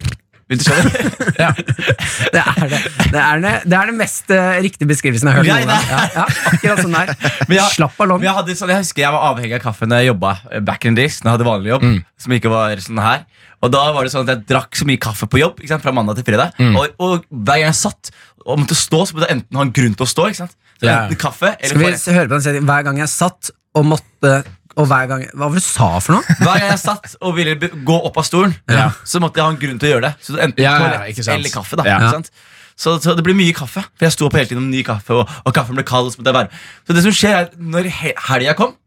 S2: Hvis du skjønner?
S4: Ja. Det er det. Det er det, det er den mest eh, riktige beskrivelsen jeg har hørt.
S2: Nei,
S4: noen gang. Ja, ja, akkurat sånn der.
S2: Men jeg-
S4: Slapp ballong.
S2: Men jeg, hadde, sånn, jeg husker jeg var avhengig av kaffe når jeg jobba eh, back in days. Når jeg hadde vanlig jobb, som ikke var sånn her. Og da var det sånn at jeg drakk så mye kaffe på jobb ikke sant, fra mandag til fredag. Og, og hver gang jeg satt og måtte stå, så måtte jeg enten ha en grunn til å stå. ikke sant? Så
S3: Ja.
S2: enten kaffe eller
S4: Skal vi
S2: bare-
S4: s- høre på den setningen? Hver gang jeg satt og måtte og hver gang, Hva var det du sa for noe?
S2: Hver gang jeg satt og ville be- gå opp av stolen,
S3: Ja.
S2: så måtte jeg ha en grunn til å gjøre det. Så Enten
S3: Ja, ja,
S2: toalett
S3: ikke sant.
S2: eller kaffe. da
S3: Ja.
S2: ikke sant? Så, så det ble mye kaffe. For jeg sto opp hele tiden om ny kaffe, og, og kaffen ble kald. Og så, måtte jeg være. så det som skjer er at Når he- helga kom,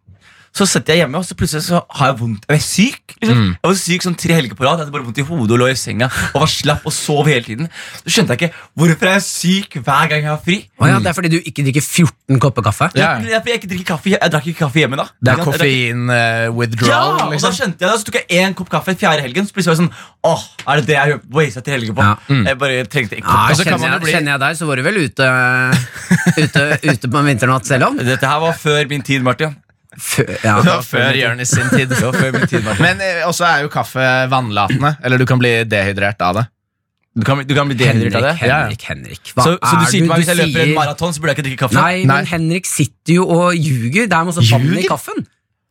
S2: så sitter jeg hjemme, og så plutselig så har jeg vondt. Jeg er syk. liksom.
S3: Mm.
S2: Jeg var syk sånn tre helger på rad. Jeg hadde bare vondt i hodet og lå i senga og var slapp og sov hele tiden. Så skjønte jeg ikke hvorfor er jeg syk hver gang jeg har fri.
S4: Å ja, det er fordi du ikke drikker 14 kopper kaffe?
S3: Ja.
S2: Det er fordi jeg ikke drikker kaffe. Jeg, jeg drakk ikke kaffe hjemme da.
S3: Det er
S2: Ikke sant? Jeg drakk-
S4: eh,
S2: ja,
S3: koffein-withdrawal,
S2: og da
S3: liksom.
S2: skjønte jeg det. Så tok jeg én kopp kaffe fjerde helgen. Så plutselig var jeg sånn Åh, er det det jeg wasta til helgen på?
S4: Ja. mm.
S2: Jeg bare trengte en
S4: Ja,
S2: kopp kaffe.
S3: så kan
S4: kjenner,
S3: man jo
S4: jeg,
S3: bli-
S4: kjenner jeg deg, så var du vel ute, ute, ute på en vinternatt selv om?
S2: Dette her var før min tid, Martin.
S4: Fø- ja.
S3: Det var før Jonis sin tid.
S2: Det var før min tid, Martin.
S3: Men eh, også er jo kaffe vannlatende. Eller du kan bli dehydrert av det.
S2: Du kan, bli- du kan bli
S4: Henrik,
S2: dehydrert av det.
S4: Henrik, Henrik. Hva
S2: Så, så du
S4: er
S2: sier til meg hvis jeg løper en
S4: sier-
S2: maraton, så burde jeg ikke drikke kaffe?
S4: Nei,
S3: Nei.
S4: men Henrik sitter jo og ljuger. Det er masse vann i
S3: Ljuger?
S4: kaffen.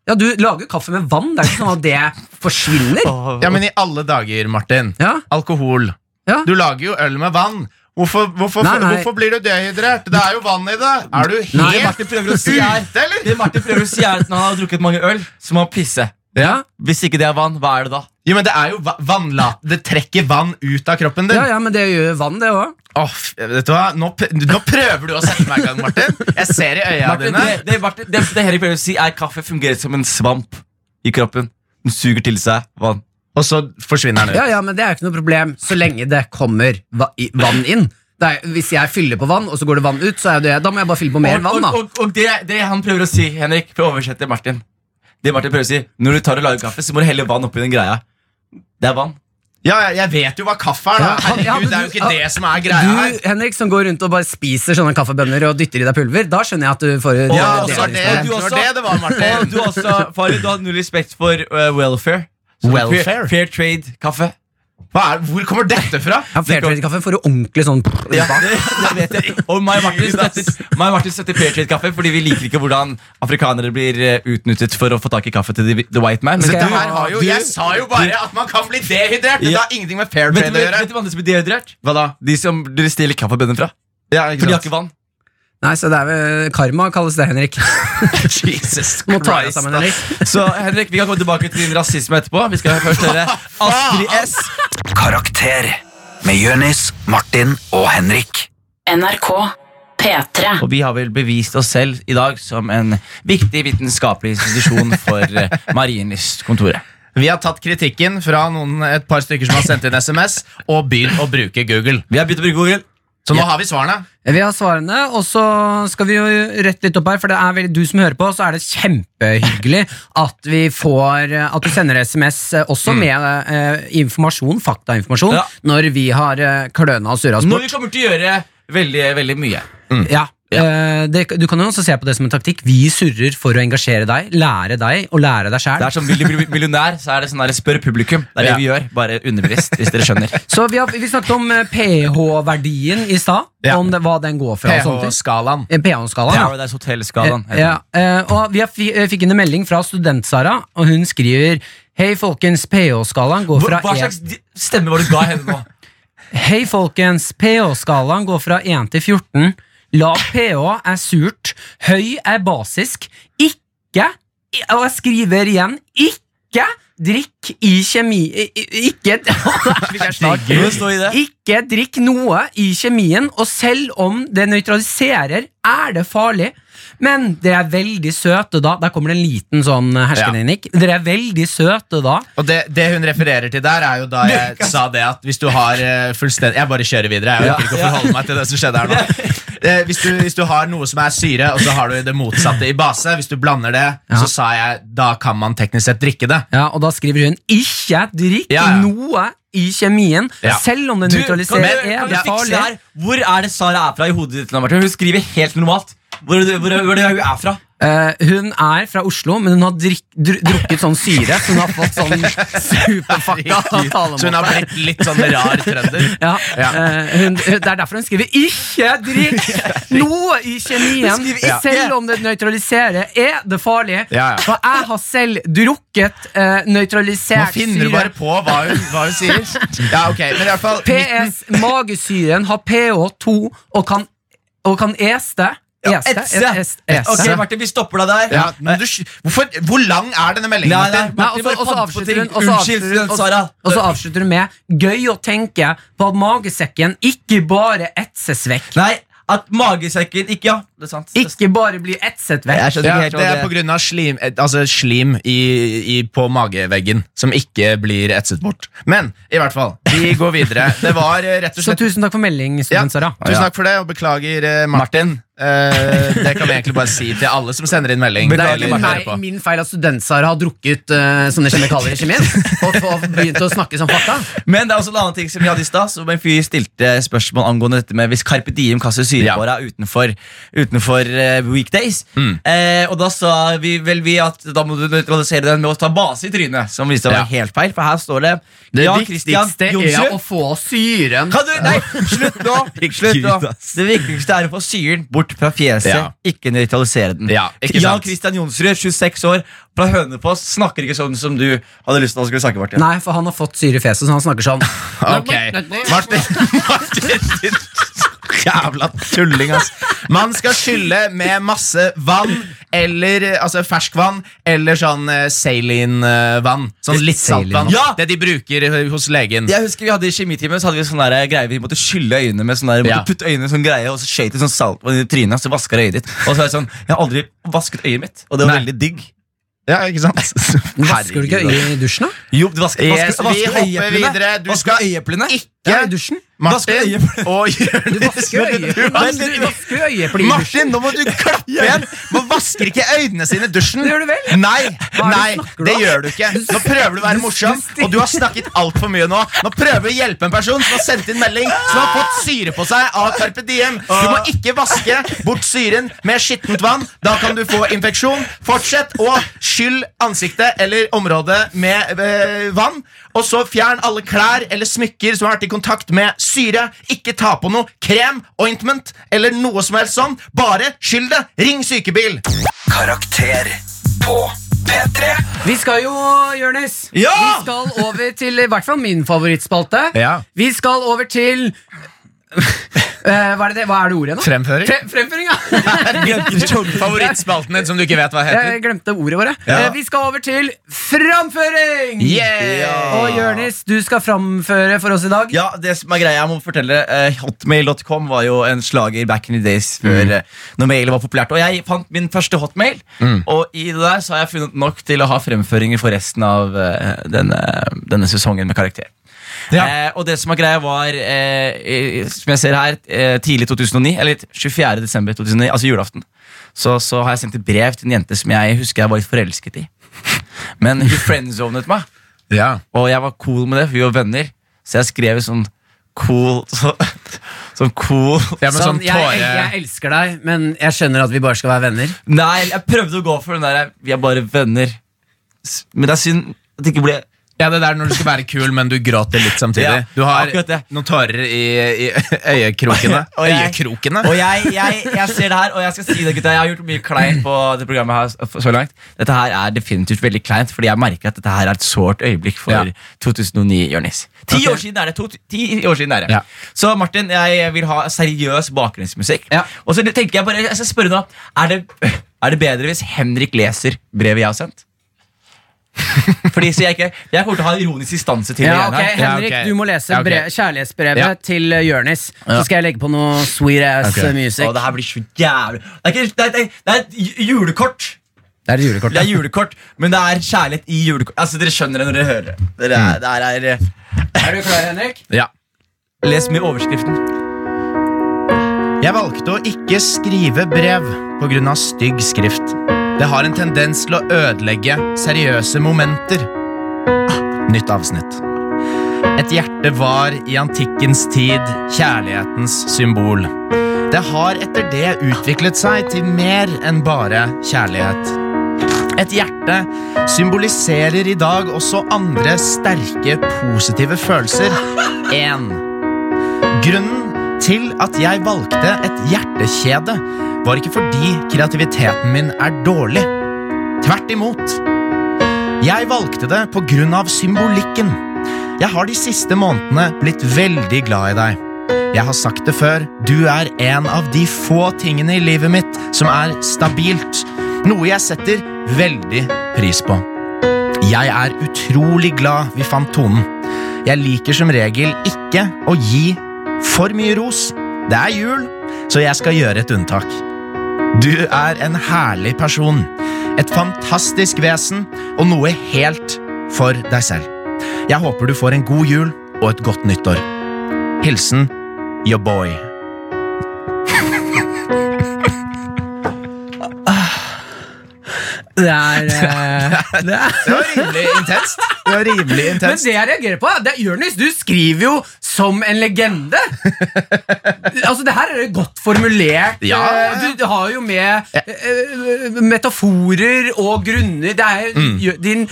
S4: Ja, Du lager jo kaffe med vann. Det er ikke sånn at det forsvinner.
S2: Åh,
S3: Ja, men i alle dager, Martin.
S4: Ja,
S3: Alkohol.
S4: Ja.
S3: Du lager jo øl med vann. Hvorfor, hvorfor,
S4: Nei, nei.
S3: hvorfor blir du dehydrert? Det er jo vann i det! Er du
S4: Nei,
S3: helt
S2: Martin prøver å si her
S3: ute, eller?
S2: Det Martin prøver å si er at når han har drukket mange øl, så må han pisse.
S4: ja,
S2: Hvis ikke det er vann, hva er det da?
S3: Jo, men det er jo va vannlat. Det trekker vann ut av kroppen din.
S4: ja, ja men det gjør jo vann, det òg.
S3: Åh, f- vet du hva? Nå, p- nå prøver du å sette meg i gang, Martin. Jeg ser i øya
S2: Martin,
S3: dine.
S2: det, det, Martin, det, det Henrik prøver å si, er kaffe fungerer som en svamp i kroppen. Den suger til seg vann.
S3: Og så forsvinner den ut.
S4: Ja, ja, men det er jo ikke noe problem så lenge det kommer va i, vann inn. Det er, hvis jeg fyller på vann, og så går det vann ut, så er jo det, da må jeg bare fylle på mer
S2: og,
S4: vann. da
S2: Og, og, og det, det han prøver å si, Henrik, for å oversette Martin Det Martin prøver å si Når du tar og lager kaffe, så må du helle vann oppi den greia. Det er vann.
S3: Ja, jeg, jeg vet jo hva kaffe er, da.
S4: Ja, han- ja,
S3: Herregud,
S4: men
S3: det er jo
S4: du-
S3: ikke det som er greia her.
S4: Du, Henrik, som går rundt og bare spiser sånne kaffebønner og dytter i deg pulver, da skjønner jeg at du får
S3: Ja,
S2: Og
S3: og
S2: det
S3: så
S2: er
S3: er det
S2: liksom-
S3: det
S2: Og du
S3: var
S2: også-
S3: det det var,
S2: Og
S3: Martin.
S2: Eh, du også, Farley, du hadde null respekt for eh, welfare. Så
S3: Welfare?
S2: Fair, fair trade-kaffe.
S3: Hva er, hvor kommer dette fra?
S4: Ja, fair trade-kaffe får du ordentlig sånn
S2: Ja, det, det vet jeg. Og meg og Martin støtter, meg og Martin støtter fair trade-kaffe fordi vi liker ikke hvordan afrikanere blir eh, utnyttet for å få tak i kaffe til the, the white man. Men
S4: Så
S3: Dette
S2: vet
S4: det-
S3: her har jo,
S4: Du-
S3: jeg sa jo bare at man kan bli dehydrert. Det
S2: Ja.
S3: har ingenting med fair
S2: du vet
S3: trade
S2: du
S3: å
S2: hva
S3: gjøre.
S2: andre som blir dehydrert?
S3: Hva da?
S2: De som dere stjeler kaffebønnen fra. For de har ikke vann.
S4: Nei, så det er vel karma, kalles det, Henrik.
S3: Jesus
S4: Må ta deg
S3: Christ,
S4: sammen,
S3: da.
S4: Henrik.
S2: Så Henrik, vi kan komme tilbake til din rasisme etterpå. Vi skal først høre Astrid S.
S1: Karakter med Jonis, Martin og Henrik.
S5: NRK P3.
S2: Og vi har vel bevist oss selv i dag som en viktig vitenskapelig institusjon for eh, Marienlystkontoret.
S3: Vi har tatt kritikken fra noen, et par stykker som har sendt inn SMS, og begynt å bruke Google.
S2: Vi har begynt å bruke Google.
S3: Så nå har vi svarene.
S4: Vi har svarene, og så skal vi jo rette litt opp her, for det er veldig, du som hører på, så er det kjempehyggelig at vi får eh, At du sender SMS eh, også med eh, informasjon, faktainformasjon,
S2: Ja.
S4: når vi har eh, kløna og surra oss
S2: Når
S4: bort.
S2: vi kommer til å gjøre veldig, veldig mye.
S4: Ja. Eh, det, du kan jo også se på det som en taktikk. Vi surrer for å engasjere deg, lære deg og lære deg
S2: Det
S4: sjæl.
S2: er som Vil du bli millionær, så er det sånn der, spør publikum. Det er det
S3: Ja.
S2: vi gjør, bare underbevisst, hvis dere skjønner.
S4: Så vi, har, vi snakket om eh, pH-verdien i stad,
S3: Ja.
S4: om det, hva den går fra. og sånne ting.
S3: PH-skalaen.
S4: Eh, pH-skalaen. ja.
S2: Paradise Hotel-skalaen. heter
S4: Ja, eh, og vi har fi- eh, fikk inn en melding fra student-Sara, og hun skriver Hei folkens, pH-skalaen går
S2: den. Hva,
S4: fra
S2: hva
S4: en-
S2: slags di- stemme var det du ga henne nå?
S4: Hei, folkens. pH-skalaen går fra 1 til 14. Lav pH er surt. Høy er basisk. Ikke Og jeg skriver igjen ikke drikk i kjemi... i- i- Ikke Jeg snart.
S2: Digger det å stå i det.
S4: Ikke drikk noe i kjemien, og selv om det nøytraliserer, er det farlig. Men dere er veldig søte da. Der kommer det en liten sånn hersketeknikk. Dere er veldig søte da.
S3: Og det, det hun refererer til der, er jo da jeg sa det at hvis du har eh, fullstendig Jeg bare kjører videre. Jeg orker ikke å forholde meg til det som skjedde her nå. Eh, Hvis du, hvis du har noe som er syre, og så har du det motsatte i base, hvis du blander det, så sa jeg da kan man teknisk sett drikke det.
S4: Ja, og da skriver hun 'ikke drikk
S3: Ja, ja.
S4: noe i kjemien',
S3: Ja.
S4: selv om det
S2: Du, kan du, kan
S4: nøytraliserer
S2: du
S4: er det
S2: fikse det
S4: farlig.
S2: her? Hvor er det Sara er fra i hodet ditt? nå, Martin? Hun skriver helt normalt. Hvor, hvor, hvor, hvor er det hun er fra?
S4: Eh, hun er fra Oslo, men hun har drikk, dr drukket sånn syre, så hun har fått sånn superfucka
S3: Så hun har
S4: talemåte.
S3: blitt litt sånn rar trønder.
S4: Ja,
S3: Ja.
S4: eh, hun, hun- det er derfor hun skriver 'ikke drikk noe i kjemien',
S3: ikke.
S4: selv om det nøytraliserer, er det farlig.
S3: Ja, ja.
S4: For jeg har selv drukket eh,
S3: Nå
S4: nøytralisert
S3: finner du
S4: syre.
S3: bare på hva hun, hva hun sier. Ja, ok, men i hvert fall
S4: PS, magesyren har pH2 og kan, og kan este. Este?
S2: Etse.
S4: Es- este.
S2: Ok, Martin, vi stopper deg der.
S3: ja, men du, hvorfor, Hvor lang er denne meldingen?
S2: Nei, nei,
S3: Martin?
S4: Nei, og så-
S2: Martin, bare
S4: og så
S2: pant på
S4: avslutter
S2: ting.
S4: hun- og så
S2: Unnskyld,
S4: avslutter hun- og-
S2: Sara.
S4: Og så avslutter hun med Gøy å tenke på at magesekken ikke bare etses vekk.
S2: Nei, at magesekken ikke Ja, det er sant. Det er sant.
S4: Ikke bare blir etset vekk.
S2: Jeg skjønner
S3: Ja,
S2: ikke helt
S3: det er
S2: hva
S3: på grunn av slim, eh, altså slim i, i, på mageveggen som ikke blir etset bort. Men i hvert fall, vi går videre. Det var eh, rett og
S4: Så
S3: slett
S4: tusen takk for melding,
S3: ja,
S4: student Sara.
S3: Tusen takk for det, og beklager, eh, Martin. Eh, det kan vi egentlig bare si til alle som sender inn melding.
S2: Beklager,
S3: Deilig å
S2: Martin.
S3: høre
S8: Nei,
S3: på.
S8: min feil at student-Sara har drukket eh, sånne kjemikalier i kjemien. Og, og begynt å snakke som fakta.
S2: Men det er også en annen ting som vi hadde i sted, Som en fyr stilte spørsmål angående dette med hvis Carpe Diem kaster syre
S3: Ja.
S2: på deg utenfor, utenfor eh, weekdays. Eh, og da sa vi vel vi at da må du nøytralisere den med å ta base i trynet. Som viste seg å være helt feil, for her står det
S8: Det
S2: Jan Christian
S8: viktigste er
S2: Jonsrud.
S8: å få syren.
S2: Kan du, nei, slutt nå! Slutt nå.
S3: Gud, ass.
S2: Det viktigste er å få syren bort fra fjeset,
S3: Ja.
S2: ikke nøytralisere den.
S3: Ja, ikke
S2: Jan
S3: sant?
S2: Christian Jonsrud, 26 år, fra Hønefoss, snakker ikke sånn som du hadde lyst til å skulle snakke. Martin.
S4: Nei, for han har fått syre i fjeset, så han snakker sånn.
S3: Ok, Martin, Martin din Jævla tulling, ass. Man skal skylle med masse vann, eller eh, altså ferskvann, eller sånn eh, saline-vann. Sånn litt saltvann.
S2: Ja!
S3: Det de bruker eh, hos legen.
S2: Jeg husker vi hadde I kjemitimen så hadde vi sånn der greie vi måtte skylle øynene med. sånn der, vi
S3: Ja.
S2: måtte putte øynene i sånn greie, Og så skjøt det sånn saltvann i trynet, og så vaska det øyet ditt. Og så er det sånn, Jeg har aldri vasket øyet mitt, og det var
S3: Nei.
S2: veldig digg.
S3: Ja, ikke sant?
S4: Vasker du ikke øyet i dusjen, da?
S2: Jo, du vasket,
S3: Yes, vi
S2: vasket, vasket
S3: hopper
S2: øyeeplene.
S3: videre. Du
S2: Vasket
S3: skal-
S2: øyeeplene.
S4: Ja, i dusjen.
S2: Vasker
S3: Martin
S2: øyeeplene.
S3: og Jonis.
S4: Vasker øyet.
S3: Du
S4: Men
S3: vasker-
S4: du vasker øyet på i dusjen.
S3: Martin, nå må du klappe igjen! Man vasker ikke øynene sine i dusjen.
S4: Det gjør du vel?
S3: Nei,
S4: Hva er det
S3: nei,
S4: du snakker
S3: det
S4: om?
S3: gjør du ikke. Nå prøver du å være morsom, og du har snakket altfor mye nå. Nå prøver du å hjelpe en person som har sendt inn melding, som har fått syre på seg av Carpe Diem. Du må ikke vaske bort syren med skittent vann. Da kan du få infeksjon. Fortsett å skyll ansiktet eller området med eh, vann. Og så fjern alle klær eller smykker som har vært i kontakt med syre. Ikke ta på noe krem, ointment eller noe som helst sånn. Bare skyll det. Ring sykebil.
S1: Karakter på P3.
S4: Vi skal jo, Jonis,
S2: Ja!
S4: vi skal over til i hvert fall min favorittspalte.
S3: Ja.
S4: Vi skal over til Eh, hva, er det, det- hva er det ordet nå?
S3: Fremføring.
S4: Fre fremføring, ja!
S3: Favorittspalten din som du ikke vet hva
S4: Jeg glemte ordet våre. Eh, vi skal over til framføring! Og Jonis, du skal framføre for oss i dag.
S2: Ja, det som er greia, jeg må fortelle eh, Hotmail.com var jo en slager back in the days før
S3: Mm.
S2: eh, når mail var populært. Og jeg fant min første hotmail,
S3: Mm.
S2: og i det der så har jeg funnet nok til å ha fremføringer for resten av eh, denne, denne sesongen med karakter. Eh, og det som er greia, var eh, i- som jeg ser her, eh, tidlig 2009, eller 24. desember 2009, altså julaften, så, så har jeg sendt et brev til en jente som jeg husker jeg var litt forelsket i. Men hun friendzonet meg. Og jeg var cool med det, for vi var venner. Så jeg skrev sånn cool så, Sånn cool
S3: Ja, men sånn
S4: Sånn, jeg,
S3: tåre...
S4: jeg elsker deg, men jeg skjønner at vi bare skal være venner.
S2: Nei, jeg prøvde å gå for den der Vi er bare venner. S- Men det er synd at det ikke ble
S3: Ja, det der når du skal være kul, men du gråter litt samtidig.
S2: Ja,
S3: Du har
S2: akkurat det.
S3: noen tårer i, i øyekrokene.
S2: Og jeg-
S3: Øyekrokene?
S2: Og jeg, jeg, jeg ser det her, og jeg skal si det, gutta. Jeg har gjort mye kleint på det programmet her s- så langt. Dette her er definitivt veldig kleint, fordi jeg merker at dette her er et sårt øyeblikk for
S3: Ja.
S2: 2009, Jonis. Ti år siden er det. To, ti år siden er det.
S3: Ja.
S2: Så Martin, jeg vil ha seriøs bakgrunnsmusikk.
S4: Ja.
S2: Og så tenker jeg bare, jeg skal spørre nå, er det, er det bedre hvis Henrik leser brevet jeg har sendt? Fordi så jeg ikke Jeg kommer til å ha ironisk distanse til
S4: Ja,
S2: det
S4: ok,
S2: greiene her.
S3: Ja,
S4: Henrik,
S3: ok.
S4: du må lese
S3: Ja, ok.
S4: brev, kjærlighetsbrevet
S3: Ja.
S4: til uh, Jørnis. Så
S2: Ja.
S4: skal jeg legge på noe sweet ass
S3: Ok.
S4: uh, music.
S2: Å, det her blir så jævlig Det er, ikke, det er, det er, det er et ju- julekort.
S4: Det er et julekort.
S2: Det
S4: da.
S2: er julekort, men det er kjærlighet i julekort. Altså, Dere skjønner det når dere hører det. Dere er, det her er,
S4: Er du klar, Henrik?
S3: Ja.
S2: les med overskriften.
S4: Eh,
S3: Jeg valgte å ikke skrive brev pga. stygg skrift. Det har en tendens til å ødelegge seriøse momenter. Ah, Nytt avsnitt. Et hjerte var i antikkens tid kjærlighetens symbol. Det har etter det utviklet seg til mer enn bare kjærlighet. Et hjerte symboliserer i dag også andre sterke, positive følelser. En Grunnen til at jeg valgte et hjertekjede, var ikke fordi kreativiteten min er dårlig. Tvert imot. Jeg valgte det på grunn av symbolikken. Jeg har de siste månedene blitt veldig glad i deg. Jeg har sagt det før, du er en av de få tingene i livet mitt som er stabilt, noe jeg setter veldig pris på. Jeg er utrolig glad vi fant tonen. Jeg liker som regel ikke å gi for mye ros. Det er jul, så jeg skal gjøre et unntak. Du er en herlig person, et fantastisk vesen og noe helt for deg selv. Jeg håper du får en god jul og et godt nyttår. Hilsen your boy.
S4: Det er, uh, det er
S3: Det var rimelig intenst. Det var rimelig
S4: Men
S3: intenst.
S4: det jeg reagerer på, det er Jørnis, du skriver jo som en legende! altså, det her er jo godt formulert. Eh,
S3: Ja, ja, ja.
S4: Du, du har jo med eh, eh, metaforer og grunner. Det er
S3: Mm.
S4: jo jo- din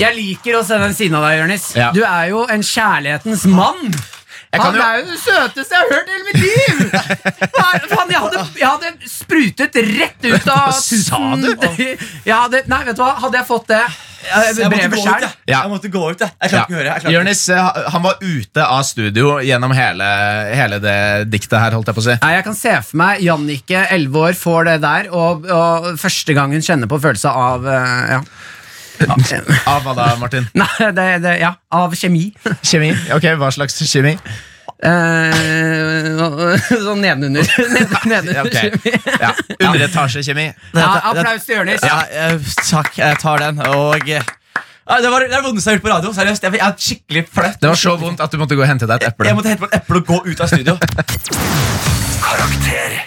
S4: Jeg liker å se den siden av deg, Jørnis.
S3: Ja.
S4: Du er jo en kjærlighetens mann. Han
S3: kan jo-
S4: er jo det søteste jeg har hørt i hele mitt liv! Nei, Faen, jeg, hadde, jeg hadde sprutet rett ut av
S3: Hva sa du?
S4: Jeg hadde, nei, vet du hva? Hadde jeg fått det eh,
S2: Jeg måtte
S4: brevet
S2: gå ut,
S4: sjøl
S2: jeg. Jeg måtte gå ut, jeg. Jeg klarte ikke å høre. Jeg klarte ikke.
S3: Jonis, eh, han var ute av studio gjennom hele, hele det diktet her, holdt jeg på å si.
S4: Nei, Jeg kan se for meg Jannicke, 11 år, får det der, og, og første gang hun kjenner på følelse av eh, ja.
S3: Av hva da, Martin?
S4: Nei, det, det, ja, av kjemi.
S3: Kjemi? Ok, hva slags kjemi?
S4: Eh, sånn nedenunder. Ned-
S3: Ja,
S4: nedenunder
S3: ok.
S4: kjemi.
S3: Ja. Underetasjekjemi.
S4: Ja, applaus til Jonis.
S2: Ja, eh, takk. Jeg tar den. Og eh, ja, Det var det er det vondeste jeg har gjort på radio. Seriøst. Jeg, jeg er skikkelig flaut.
S3: Det var så vondt at du måtte gå og hente deg et eple.
S2: Jeg måtte hente på et eple og gå ut av studio.
S1: Karakter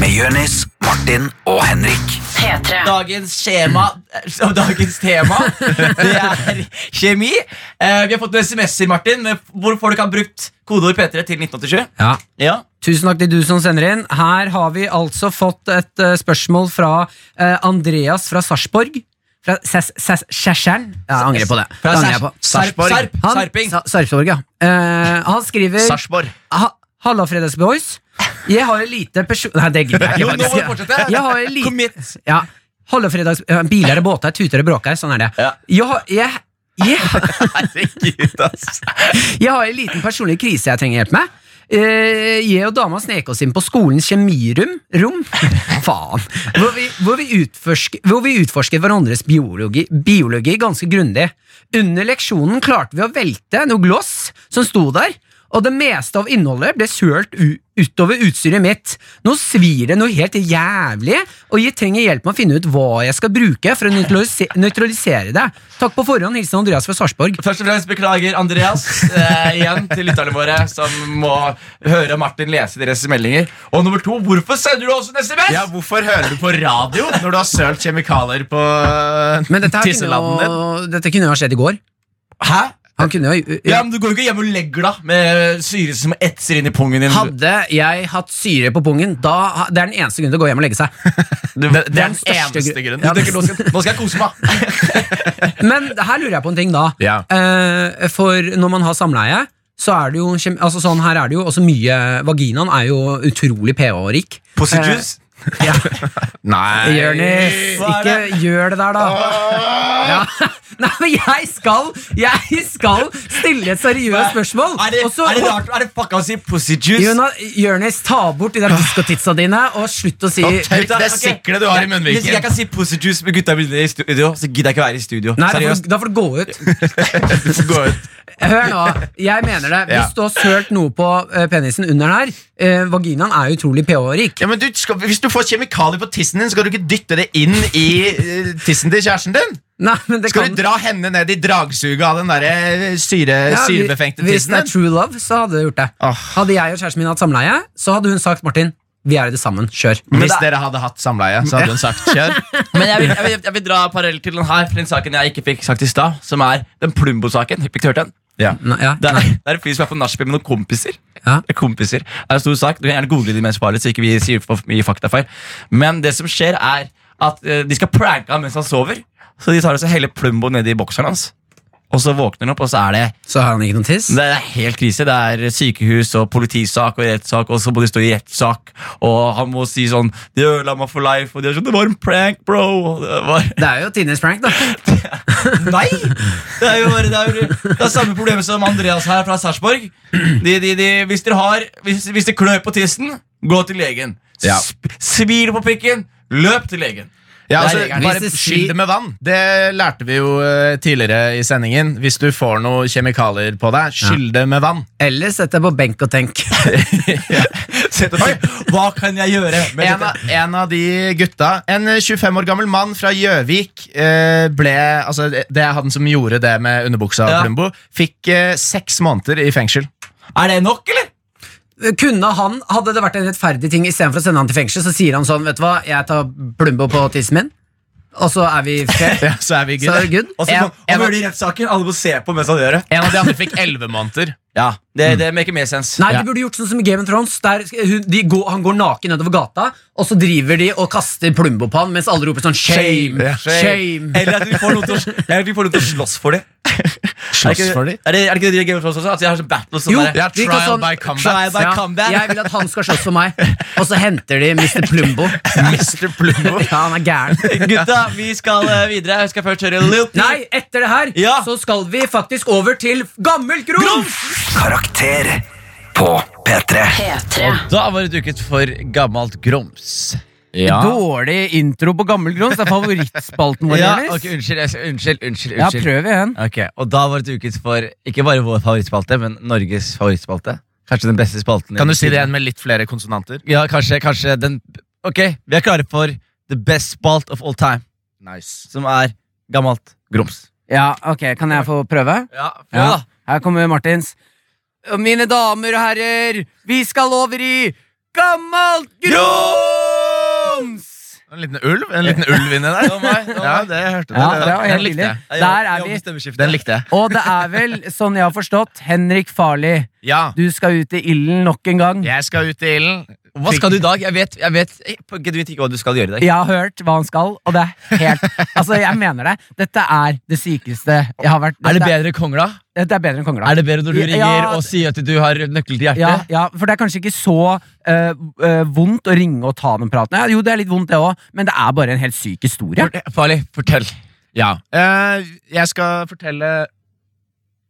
S1: med Jonis, Martin og Henrik.
S5: P3.
S2: Dagens skjema eh, Dagens tema Det er kjemi. Eh, Vi har fått noen SMS-er, Martin, med- hvor folk har brukt kodeord P3 til 1987.
S4: Ja.
S2: Ja
S4: Tusen takk til du som sender inn. Her har vi altså fått et eh, spørsmål fra eh, Andreas fra Sarpsborg. Fra Sæs- Sæs- Skjærsjern. Ja, Jeg angrer på det.
S2: Fra
S4: det angrer jeg på.
S2: Sarp- Sarpsborg.
S3: Sarp-
S4: Han-
S2: Sarping.
S4: Sa- Sarpsborg, ja. Eh, han skriver
S3: Sarpsborg.
S4: Ha- Halla, Fredagsboys. Jeg har en lite person... Nei, det gidder jeg
S2: Jo,
S4: ikke.
S2: nå må du fortsette.
S4: Jeg har en lite...
S2: Commit.
S4: Ja. Halla, fredags... eh, Biler og båter tuter og bråker. Sånn er det.
S2: Ja.
S4: Jeg har... Jeg... Jeg,
S2: Herregud, ass.
S4: jeg har en liten personlig krise jeg trenger hjelp med. Eh, jeg og dama snek oss inn på skolens kjemirum rom. Faen. Hvor vi, hvor, vi utforsk, hvor vi utforsket hverandres biologi, biologi ganske grundig. Under leksjonen klarte vi å velte noe gloss som sto der, og det meste av innholdet ble sølt u utover utstyret mitt. Nå svir det noe helt jævlig, og jeg trenger hjelp med å finne ut hva jeg skal bruke for å nøytralise- nøytralisere det. Takk på forhånd. Hilsen Andreas fra Sarpsborg.
S2: Først og fremst beklager Andreas eh, igjen til lytterne våre som må høre Martin lese deres meldinger. Og nummer to, hvorfor sender du oss en SMS?
S3: Ja, Hvorfor hører du på radio når du har sølt kjemikalier på
S4: Men dette, her kunne
S3: tisselanden din?
S4: jo, dette kunne jo ha skjedd i går.
S2: Hæ?
S4: Han kunne jo
S3: Ja, men Du går jo ikke hjem og legger deg med syre som etser inn i pungen din.
S4: Hadde jeg hatt syre på pungen, da, ha- det er den eneste grunnen til å gå hjem og legge seg.
S3: det, det er
S4: den
S3: den
S4: største
S3: eneste
S4: grunnen.
S3: grunnen. Du tenker, nå, skal, nå skal jeg kose meg.
S4: Men her lurer jeg på en ting, da.
S3: Ja.
S4: Eh, for når man har samleie, så er det jo kjem- altså sånn, Her er det jo også mye Vaginaen er jo utrolig pH-rik.
S3: Pussy juice?
S2: Eh,
S4: Ja.
S3: Nei
S4: Jonis,
S3: Hva er
S4: ikke
S3: det?
S4: gjør det der, da. Ja. Nei, men jeg skal Jeg skal stille et seriøst spørsmål.
S3: Er det,
S4: og så-
S3: er det rart? Er det fucka å si pussy juice?
S4: Jona- Jonis, ta bort de der diskotitsa dine, og slutt å si
S3: Gutta,
S8: Det
S3: Ah. ok.
S8: siklet du har i
S3: Jeg-
S8: munnviken.
S3: Hvis jeg kan si pussy juice med gutta mine i studio, så gidder jeg ikke være i studio.
S4: Nei, da får,
S3: Seriøst.
S4: du- da får du gå ut.
S3: Gå ut.
S4: Hør nå, jeg mener det.
S3: Ja.
S4: Hvis du har sølt noe på eh, penisen under her, eh, vaginaen er jo utrolig pH-rik.
S3: Ja, men du skal, Hvis du får kjemikalier på tissen din, skal du ikke dytte det inn i eh, tissen til kjæresten din?
S4: Nei, men det
S3: Skal
S4: kan...
S3: du dra henne ned i dragsuget av den der eh, syre,
S4: Ja, vi-
S3: syrebefengte
S4: Hvis
S3: tissen
S4: det er
S3: din?
S4: true love, så hadde jeg gjort det.
S3: Åh.
S4: Hadde jeg og kjæresten min hatt samleie, så hadde hun sagt Martin, vi er i det sammen, kjør.
S3: Hvis dere hadde hatt samleie, så hadde hun sagt kjør.
S2: Men jeg vil, jeg, vil, jeg vil dra parallell til den her, for den saken jeg ikke fikk sagt i stad, som er den Plumbo-saken. Fikk du hørt den?
S4: Nei, ja,
S2: Det er,
S4: nei.
S2: det er en fyr som er på nachspiel med noen kompiser.
S4: Ja.
S2: Det er kompiser. Det er en stor sak. Du kan gjerne google det mens farlig, så ikke vi sier for mye faktafeil. Men det som skjer, er at eh, de skal pranke ham mens han sover. Så de tar også hele Plumbo ned i bokseren hans. Og så våkner han opp, og så er det
S4: Så har han ikke noen tiss.
S2: det er helt krise. Det er sykehus og politisak og rettssak, og så må de stå i rettssak, og han må si sånn De ødela meg for life, og de er sånn Det var en prank, bro! Og det var
S4: Det er jo tidenes prank, da.
S2: Nei! Det er jo bare, det er, jo- det er samme problemet som Andreas her fra Sarpsborg. De, de, de, hvis dere har hvis, hvis det klør på tissen, gå til legen.
S3: Ja.
S2: Sp svir det på pikken, løp til legen.
S3: Ja,
S2: Det er
S3: altså,
S2: regelen.
S3: bare
S4: Hvis det svi-
S3: skyld det med vann. Det lærte vi jo eh, tidligere i sendingen. Hvis du får noen kjemikalier på deg, skyld det med vann.
S4: Eller sett deg på benk og tenk.
S2: Sett og tenk, Hva kan jeg gjøre? med
S3: En
S2: dette?
S3: av, en av de gutta En eh, 25 år gammel mann fra Gjøvik eh, ble altså, Det er han som gjorde det med underbuksa
S2: Ja.
S3: Plumbo. Fikk eh, seks måneder i fengsel.
S2: Er det nok, eller?
S4: Kunne han, Hadde det vært en rettferdig ting, istedenfor å sende han til fengsel, så sier han sånn, vet du hva, jeg tar Plumbo på tissen min, og så er vi fair.
S3: Ja, så er vi
S4: Så
S3: good.
S4: er det good.
S2: Og så
S3: En-
S2: må- og
S3: en-
S2: må gjøre det i rettssaken. Alle må se på mens han gjør det.
S3: En av de andre fikk elleve måneder.
S2: Ja, det, det maker mer sens.
S4: Nei,
S3: Ja.
S4: de burde gjort sånn som i Game of Thrones. Der hun, de går, han går naken nedover gata, og så driver de og kaster Plumbo på han mens alle roper sånn shame,
S2: Ja.
S4: shame.
S2: Eller at vi får noen til å, eller at vi får noen til å slåss for det.
S3: Slåss
S2: er det ikke,
S3: for de?
S2: Er det, er det ikke det i Game of Thrones også? At de har sånn battles sånn
S4: Jo,
S2: der-
S3: Ja,
S4: de
S3: trial
S4: tar sånn-
S3: by combat.
S2: Trial by combat.
S4: Jeg vil at han skal slåss for meg, og så henter de Mr. Plumbo.
S3: Mr. Plumbo.
S4: Ja, han er gæren.
S2: Gutta, vi skal eh, videre. Jeg skal først høre Lil Peep.
S4: Nei, etter det her
S2: Ja.
S4: så skal vi faktisk over til Gammel Grums!
S1: Karakter på P3.
S5: P3.
S2: Da var det duket for gammelt grums.
S3: Ja.
S4: Dårlig intro på Gammel Grums. Det er favorittspalten vår. Jonis.
S2: ok, Unnskyld. jeg- Unnskyld. unnskyld,
S4: ja,
S2: unnskyld.
S4: prøv igjen.
S2: Ok, Og da var det duket for ikke bare vår favorittspalte, men Norges favorittspalte. Kanskje den beste spalten.
S3: Kan du si det igjen med litt flere konsonanter?
S2: Ja, kanskje, kanskje den Ok, vi er klare for the best spalt of all time,
S3: Nice.
S2: som er gammelt grums.
S4: Ja, ok, Kan jeg få prøve?
S2: Ja,
S4: Ja. Her kommer Martins. Og Mine damer og herrer, vi skal over i gammelt grums!
S3: En liten ulv En liten ulv inni der. Ja, det hørte du.
S4: Ja, det var
S3: Den
S4: helt
S3: likte
S4: nydelig.
S3: jeg.
S4: Der er vi.
S3: Den likte jeg.
S4: Og det er vel, sånn jeg har forstått, Henrik Farli.
S3: Ja.
S4: Du skal ut i ilden nok en gang.
S3: Jeg skal ut i ilden.
S2: Hva skal du i dag? Jeg vet, jeg vet jeg- på genuint ikke hva du skal gjøre i dag.
S4: Jeg har hørt hva han skal, og det er helt Altså, jeg mener det. Dette er det sykeste jeg har vært.
S2: Er det
S4: dette
S2: bedre kongla?
S4: Dette er bedre enn kongla.
S2: Er det bedre når du ringer
S4: Ja.
S2: og sier at du har nøkkel til hjertet?
S4: Ja, ja, for det er kanskje ikke så eh, eh, vondt å ringe og ta den praten. Ja, jo, det er litt vondt, det òg, men det er bare en helt syk historie.
S2: For- Farlig, fortell.
S3: Ja. Eh, jeg skal fortelle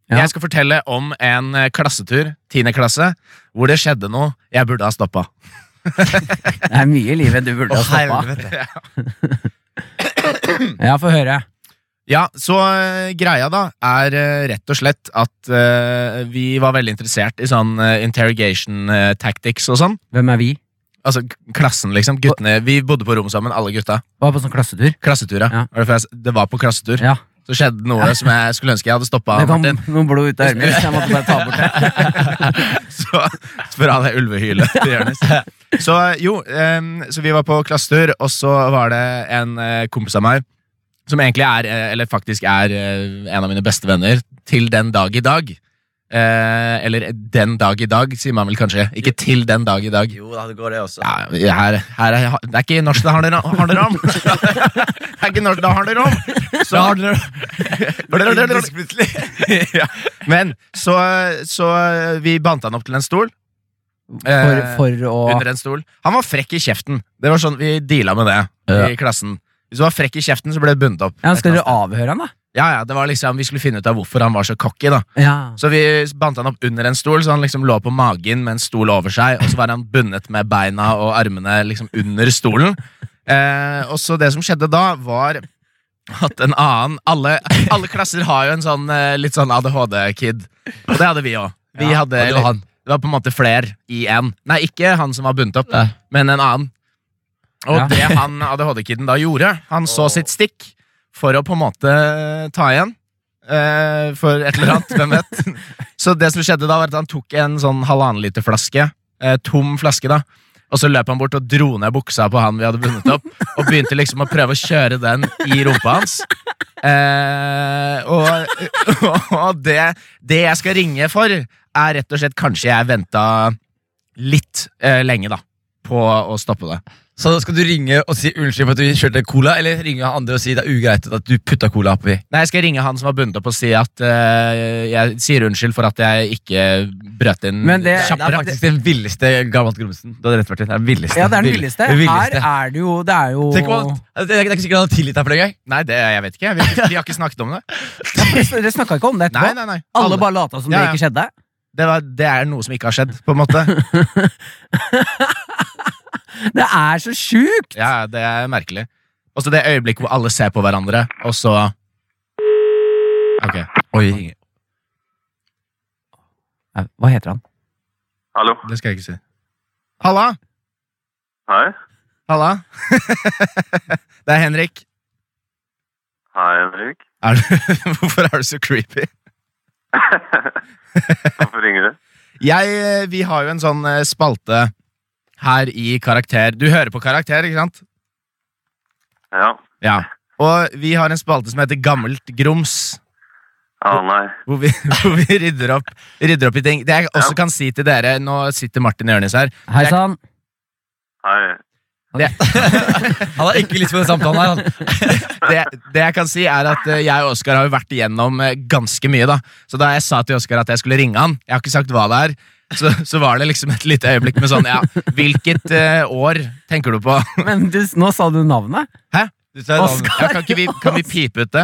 S4: Ja.
S3: Jeg skal fortelle om en eh, klassetur, 10. klasse, hvor det skjedde noe jeg burde ha stoppa.
S4: Det er mye i livet du burde ha stoppa. Ja, få høre.
S3: Ja, så eh, greia da er eh, rett og slett at eh, vi var veldig interessert i sånn eh, interrogation eh, tactics og sånn.
S4: Hvem er vi?
S3: Altså k- klassen, liksom. Guttene, vi bodde på rom sammen, alle gutta.
S4: Var på sånn klassetur.
S3: Klassetur, ja.
S4: Ja.
S3: Var det for jeg s- Det var på klassetur.
S4: Ja.
S3: Så skjedde det noe som jeg skulle ønske jeg hadde stoppa.
S4: Det kom noe blod ut av øret mitt. så Jeg måtte bare ta bort det.
S3: Så fra det ulvehylet til Jonis. Så jo, em, så vi var på klassetur, og så var det en eh, kompis av meg som egentlig er, eh, eller faktisk er, eh, en av mine beste venner til den dag i dag. Eh, eller den dag i dag, sier man vel kanskje. Ikke til den dag i dag.
S2: Jo da, det går det også.
S3: Ja, her, her er, det er ikke norsk det handler om! handler om. Det er ikke norsk det handler om! Så ja. Men så, så vi bandt han opp til en stol.
S4: For,
S3: Eh,
S4: for å
S3: under en stol. Han var frekk i kjeften. Det var sånn, Vi deala med det i klassen. Hvis du var frekk i kjeften, så ble du bundet opp.
S4: ja, Skal dere avhøre han, da?
S3: Ja, ja, det var liksom, Vi skulle finne ut av hvorfor han var så cocky. da.
S4: Ja.
S3: Så vi bandt han opp under en stol, så han liksom lå på magen med en stol over seg. Og så var han bundet med beina og armene liksom under stolen. Eh, og så det som skjedde da, var at en annen Alle, alle klasser har jo en sånn eh, litt sånn ADHD-kid. Og det hadde vi òg. Vi hadde
S2: og du og han.
S3: Det var på en måte fler i én. Nei, ikke han som var bundet opp, men en annen. Og
S4: Ja.
S3: det han ADHD-kiden da gjorde Han så sitt stikk for å på en måte ta igjen. eh, for et eller annet, hvem vet. Så det som skjedde da, var at han tok en sånn halvannen liter flaske. eh, tom flaske, da. Og så løp han bort og dro ned buksa på han vi hadde bundet opp, og begynte liksom å prøve å kjøre den i rumpa hans. Eh, og og det, det jeg skal ringe for, er rett og slett kanskje jeg venta litt eh, lenge, da. På å stoppe det.
S2: Så skal du ringe og si unnskyld for at du kjørte cola, eller ringe han andre og si det er ugreit at du putta cola oppi?
S3: Nei, Jeg skal ringe han som har bundet opp og si at eh, jeg sier unnskyld for at jeg ikke brøt inn
S4: Men det-
S2: Mm. Det er
S3: kjappere.
S2: faktisk den villeste Garvant Grumsen. Du hadde rett, Martin. Det er den villeste.
S4: Ja, det er den villeste. Her er det jo Det er jo
S2: Tenk om han, det er ikke sikkert han har tilgitt deg for det engang.
S3: Nei, det, jeg vet ikke. Vi, vi har ikke snakket om det.
S4: Dere snakka ikke om det etterpå?
S3: Nei, nei, nei.
S4: Alle bare lata som
S3: Ja,
S4: det ikke skjedde?
S3: det, var, det er noe som ikke har skjedd, på en måte.
S4: Det er så sjukt!
S3: Ja, Det er merkelig. Og så det øyeblikket hvor alle ser på hverandre, og så Ok,
S2: Oi.
S4: Nei, Hva heter han?
S9: Hallo.
S3: det skal jeg ikke si. Halla!
S9: Hei.
S3: Halla. det er Henrik.
S9: Hei, Henrik.
S3: Er du, hvorfor er du så creepy?
S9: Hvorfor ringer du?
S3: Jeg, eh, vi har jo en sånn eh, spalte her i Karakter. Du hører på Karakter, ikke sant?
S9: Ja.
S3: Ja. Og vi har en spalte som heter Gammelt grums.
S9: Ja, nei.
S3: Hvor vi, hvor vi rydder, opp, rydder opp i ting. Det jeg også
S9: Ja.
S3: kan si til dere Nå sitter Martin Jørnis her.
S4: Hei sann.
S9: Hei.
S2: Han har ikke lyst på den samtalen her. han.
S3: Det, det jeg kan si er at eh, Jeg og Oskar har jo vært igjennom eh, ganske mye. da Så da jeg sa til Oskar at jeg skulle ringe han, Jeg har ikke sagt hva det er så, så var det liksom et lite øyeblikk med sånn Ja, hvilket eh, år tenker du på?
S4: Men du, nå sa du navnet.
S3: Hæ?
S2: Du sa navnet.
S4: Oskar.
S3: Ja, kan, ikke vi, kan vi pipe ut det?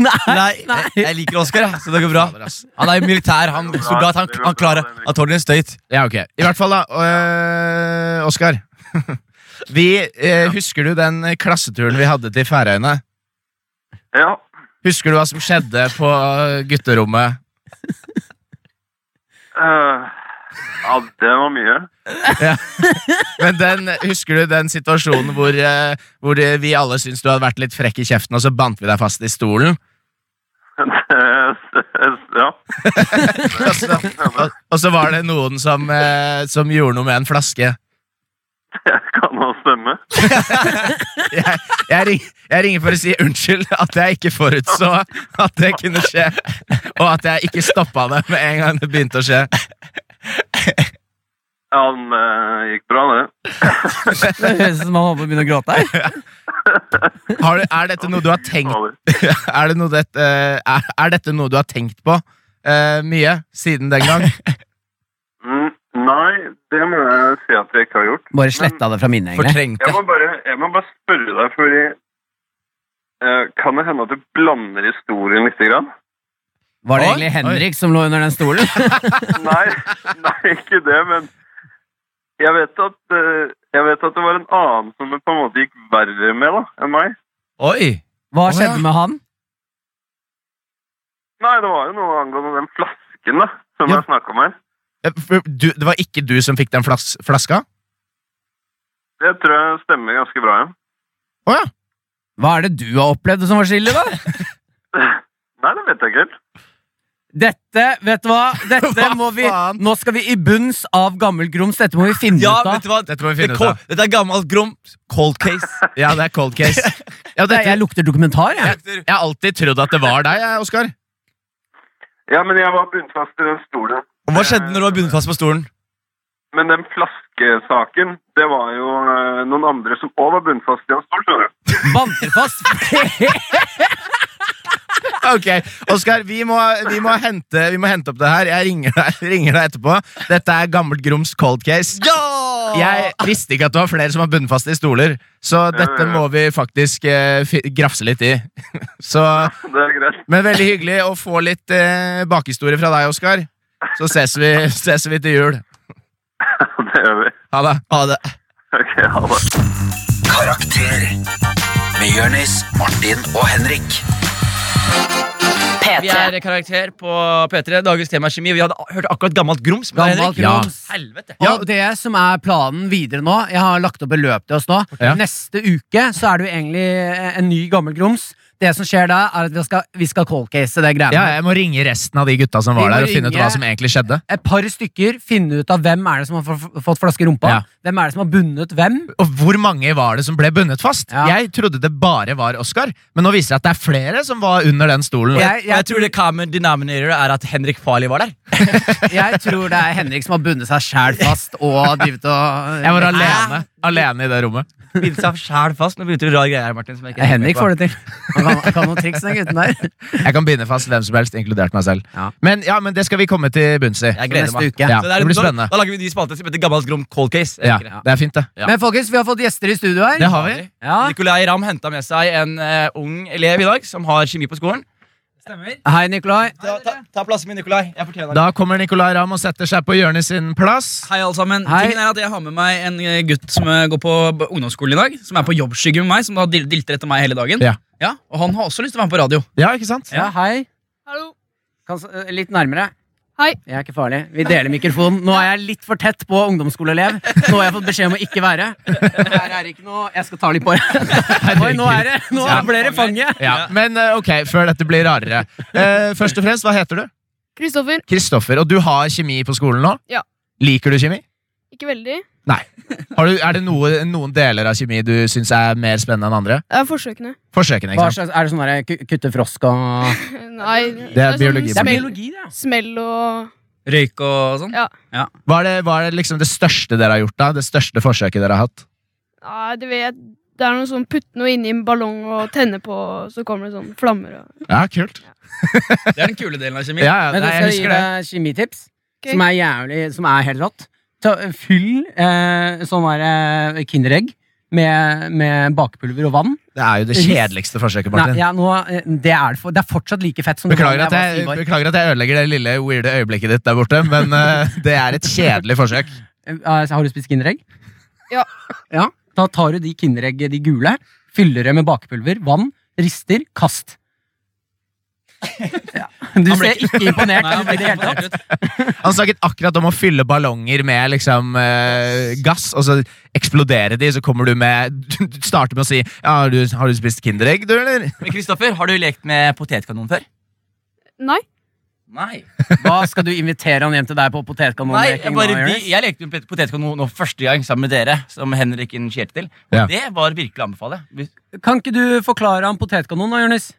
S4: Nei!
S2: Nei, jeg, jeg liker Oskar, så det går bra. Han er militær, han er soldat. Han, han klarer Han tåler en støyt.
S3: Ja, ok. I hvert fall, da. Øh, Oskar. Vi, eh, husker du den klasseturen vi hadde til Færøyene?
S9: Ja.
S3: Husker du hva som skjedde på gutterommet?
S9: eh, ja, det var mye.
S3: Men den, Husker du den situasjonen hvor, eh, hvor det- vi alle syntes du hadde vært litt frekk i kjeften, og så bandt vi deg fast i stolen?
S9: ja.
S3: Og så, og, og så var det noen som, eh, som gjorde noe med en flaske.
S9: Det kan også stemme.
S3: Jeg, jeg, ring, jeg ringer for å si unnskyld at jeg ikke forutså at det kunne skje, og at jeg ikke stoppa det med en gang det begynte å skje.
S9: Ja, men det gikk bra, det.
S4: Det høres ut som han holder på å begynne å gråte her.
S3: Har du, er dette noe du har tenkt
S9: Over.
S3: er, det noe det, eh, er, er dette noe du har tenkt på eh, mye siden den gang?
S9: Mm, nei, det må jeg si at jeg ikke har gjort.
S4: Bare sletta det fra minnet, egentlig.
S9: Jeg
S2: Fortrengte.
S9: må bare, jeg må bare spørre deg, fordi eh, kan det hende at du blander historien litt? Grann?
S4: Var det
S3: Oi,
S4: egentlig Henrik som lå under den stolen?
S9: Nei, nei, ikke det, men jeg vet, at, eh, jeg vet at det var en annen som det på en måte gikk verre med da, enn meg.
S2: Oi!
S4: Hva
S2: Å, ja.
S4: skjedde med han?
S9: Nei, det var jo noe angående den flasken da, som
S3: Ja.
S9: jeg snakket om her.
S3: Eh, for Du, det var ikke du som fikk den flas flaska?
S9: Det tror jeg stemmer ganske bra, ja.
S3: Å ja.
S4: Hva er det du har opplevd som var så ille, da?
S9: Nei, det vet jeg ikke helt.
S4: Dette, vet du hva? Dette
S3: Hva
S4: må vi
S3: faen?
S4: Nå skal vi i bunns av gammel grums. Dette må vi finne
S2: Ja,
S4: ut av.
S2: vet du hva?
S3: Dette må vi
S2: Det
S3: finne ut
S2: ko-
S3: av.
S2: Dette er gammelt grums. Cold case.
S3: Ja, det er cold case. Ja,
S4: Nei,
S3: dette,
S4: Jeg lukter dokumentar, jeg.
S3: jeg har alltid trodd at det var deg, jeg, Oskar.
S9: Ja, men jeg var bunnfast i den stolen.
S3: Og Hva skjedde når du var bundet fast på stolen?
S9: Men den flaskesaken, det var jo eh, noen andre som òg var bunnfast i en stol, skjønner du.
S10: Bandt dere fast?
S3: Ok, Oskar, vi, må- vi, må hente- vi må hente opp det her. Jeg ringer deg, ringer deg etterpå. Dette er gammelt grums cold case. Jeg visste ikke at det var flere som var bundet fast i stoler, så dette må vi faktisk eh, fi- grafse litt i. Så,
S9: Det er greit.
S3: men veldig hyggelig å få litt eh, bakhistorie fra deg, Oskar. Så ses vi, ses vi til jul.
S9: Det gjør vi.
S3: Ha det. Ha det.
S9: Ok, ha det.
S1: Karakter med Jonis, Martin og Henrik.
S2: Vi er
S11: P3.
S2: karakter på P3. Dagens tema er kjemi. Vi hadde hørt akkurat gammelt grums. med deg,
S4: Gammelt
S2: Henrik.
S4: grums.
S2: Helvete.
S4: Og det som er planen videre nå Jeg har lagt opp et løp til oss nå.
S3: Ja.
S4: Neste uke så er det jo egentlig eh, en ny gammel grums. Det som skjer da, er at vi skal, vi skal coldcase det greiene.
S3: Ja, jeg må ringe resten av de gutta som
S4: Vi
S3: var
S4: må
S3: der, og finne ut
S4: ringe-
S3: hva som egentlig skjedde.
S4: Et par stykker finne ut av hvem er det som har f- fått flaske i rumpa.
S3: Ja.
S4: Hvem er det som har bundet hvem?
S3: Og hvor mange var det som ble bundet fast?
S4: Ja.
S3: Jeg trodde det bare var Oskar, men nå viser det at det er flere som var under den stolen.
S4: Jeg,
S2: Og jeg tror det common denominator er at Henrik Farley var der.
S4: jeg tror det er Henrik som har bundet seg sjæl fast og drevet og
S3: Jeg var alene, alene i det rommet.
S2: Bindt seg sjæl fast. Nå begynte du rare greier her, Martin. Som jeg ikke er
S4: Henrik
S2: med på.
S4: får det til. Han kan, han kan noen triks, den gutten der.
S3: Jeg kan binde fast hvem som helst, inkludert meg selv.
S4: Ja.
S3: Men, ja, men det skal vi komme til bunns i.
S2: Jeg gleder
S4: Neste
S2: meg.
S4: uke.
S3: Ja,
S2: Så er-
S3: det blir
S2: da-
S3: spennende.
S2: Da lager vi en ny spalte som heter Gammelt grom cold case.
S3: Ja,
S2: Jeg liker det.
S3: det er fint, det.
S2: Ja.
S4: Men folkens, vi har fått gjester i studio her.
S3: Det har vi.
S4: Ja.
S2: Nicolai Ah. Ramm henta med seg en eh, ung elev i dag som har kjemi på skolen.
S4: Hei, Nikolai.
S2: Ta, ta, ta plassen min, Nicolai. Jeg fortjener det.
S3: Da kommer Nicolay Ramm og setter seg på Jørnes sin plass.
S8: Hei, alle sammen.
S4: Hei.
S8: Tingen er at Jeg har med meg en eh, gutt som eh, går på b- ungdomsskolen i dag. Som er på jobbskygge med meg, som da dil- dilter etter meg hele dagen.
S3: Ja.
S8: Og han har også lyst til å være med på radio.
S3: Ja, ikke sant?
S4: Ja, hei.
S12: Hallo.
S4: Kan, s- eh, litt nærmere.
S12: Hei.
S4: Jeg er ikke farlig. Vi deler mikrofonen. Nå er jeg litt for tett på ungdomsskoleelev. Nå har jeg fått beskjed om å ikke være. Her er det ikke noe Jeg skal ta litt på Oi, nå er det Nå
S3: Ja.
S4: ble det fanget.
S3: Ja, Men eh, ok, før dette blir rarere. Eh, først og fremst, hva heter du?
S12: Kristoffer.
S3: Kristoffer. Og du har kjemi på skolen nå?
S12: Ja.
S3: Liker du kjemi?
S12: Ikke veldig.
S3: Nei. Har du, er det noe, noen deler av kjemi du syns er mer spennende enn andre?
S12: Det er forsøkene.
S3: Forsøkene,
S4: Hva
S3: ikke sant?
S4: slags, er det sånn der ku- kutte frosk og
S12: Nei.
S3: Det er
S12: Sånn
S3: biologi. Det er
S12: smell,
S4: det.
S13: altså.
S12: smell og
S8: Røyk og sånn.
S12: Ja.
S3: Hva er det, hva er det, liksom det største dere har gjort? da? Det største forsøket dere har hatt?
S12: Nei, du vet Det er noe sånn putte noe inni en ballong og tenne på, og så kommer det sånn flammer og
S3: Ja, kult.
S8: Det er den kule delen av kjemi.
S3: Ja, ja,
S4: Men da
S3: nei,
S4: skal
S3: jeg
S4: jeg gi
S3: husker det.
S4: deg kjemitips,
S12: Ok.
S4: som er jævlig Som er helt rått. Ta, fyll eh, sånn der eh, Kinderegg med, med bakepulver og vann.
S3: Det er jo det kjedeligste forsøket,
S4: Nei,
S3: Martin.
S4: ja, nå, eh, det, er det, for, det er fortsatt like fett som det var
S3: Beklager
S4: da
S3: at, jeg,
S4: var syv år.
S3: beklager at jeg ødelegger det lille weirde øyeblikket ditt der borte, men eh, det er et kjedelig forsøk.
S4: Eh, Har du spist Kinderegg?
S12: Ja.
S4: Ja, Da tar du de Kinderegg, de gule, fyller det med bakepulver, vann, rister, kast. Ja. Du
S8: Han ble
S4: ser ikke imponert
S8: Nei, han
S4: ut i
S8: ble
S4: det
S8: ikke
S4: hele
S8: imponert
S4: tatt.
S8: ut.
S3: Han snakket akkurat om å fylle ballonger med liksom eh, gass, og så eksplodere de, så kommer du med Du starter med å si ja, har, du, 'Har du spist Kinderegg, du, eller?'
S2: Men Kristoffer, har du lekt med potetkanon før?
S12: Nei.
S2: Nei.
S4: Hva skal du invitere han hjem til deg på
S2: Nei, jeg,
S4: potetkanonleking? nå,
S2: bare,
S4: Jonas?
S2: vi, jeg lekte med potetkanon nå første gang sammen med dere, som Henrik initierte til. Og
S3: Ja.
S2: det var virkelig å anbefale. Hvis-
S4: Kan ikke du forklare han potetkanon da, Jonis?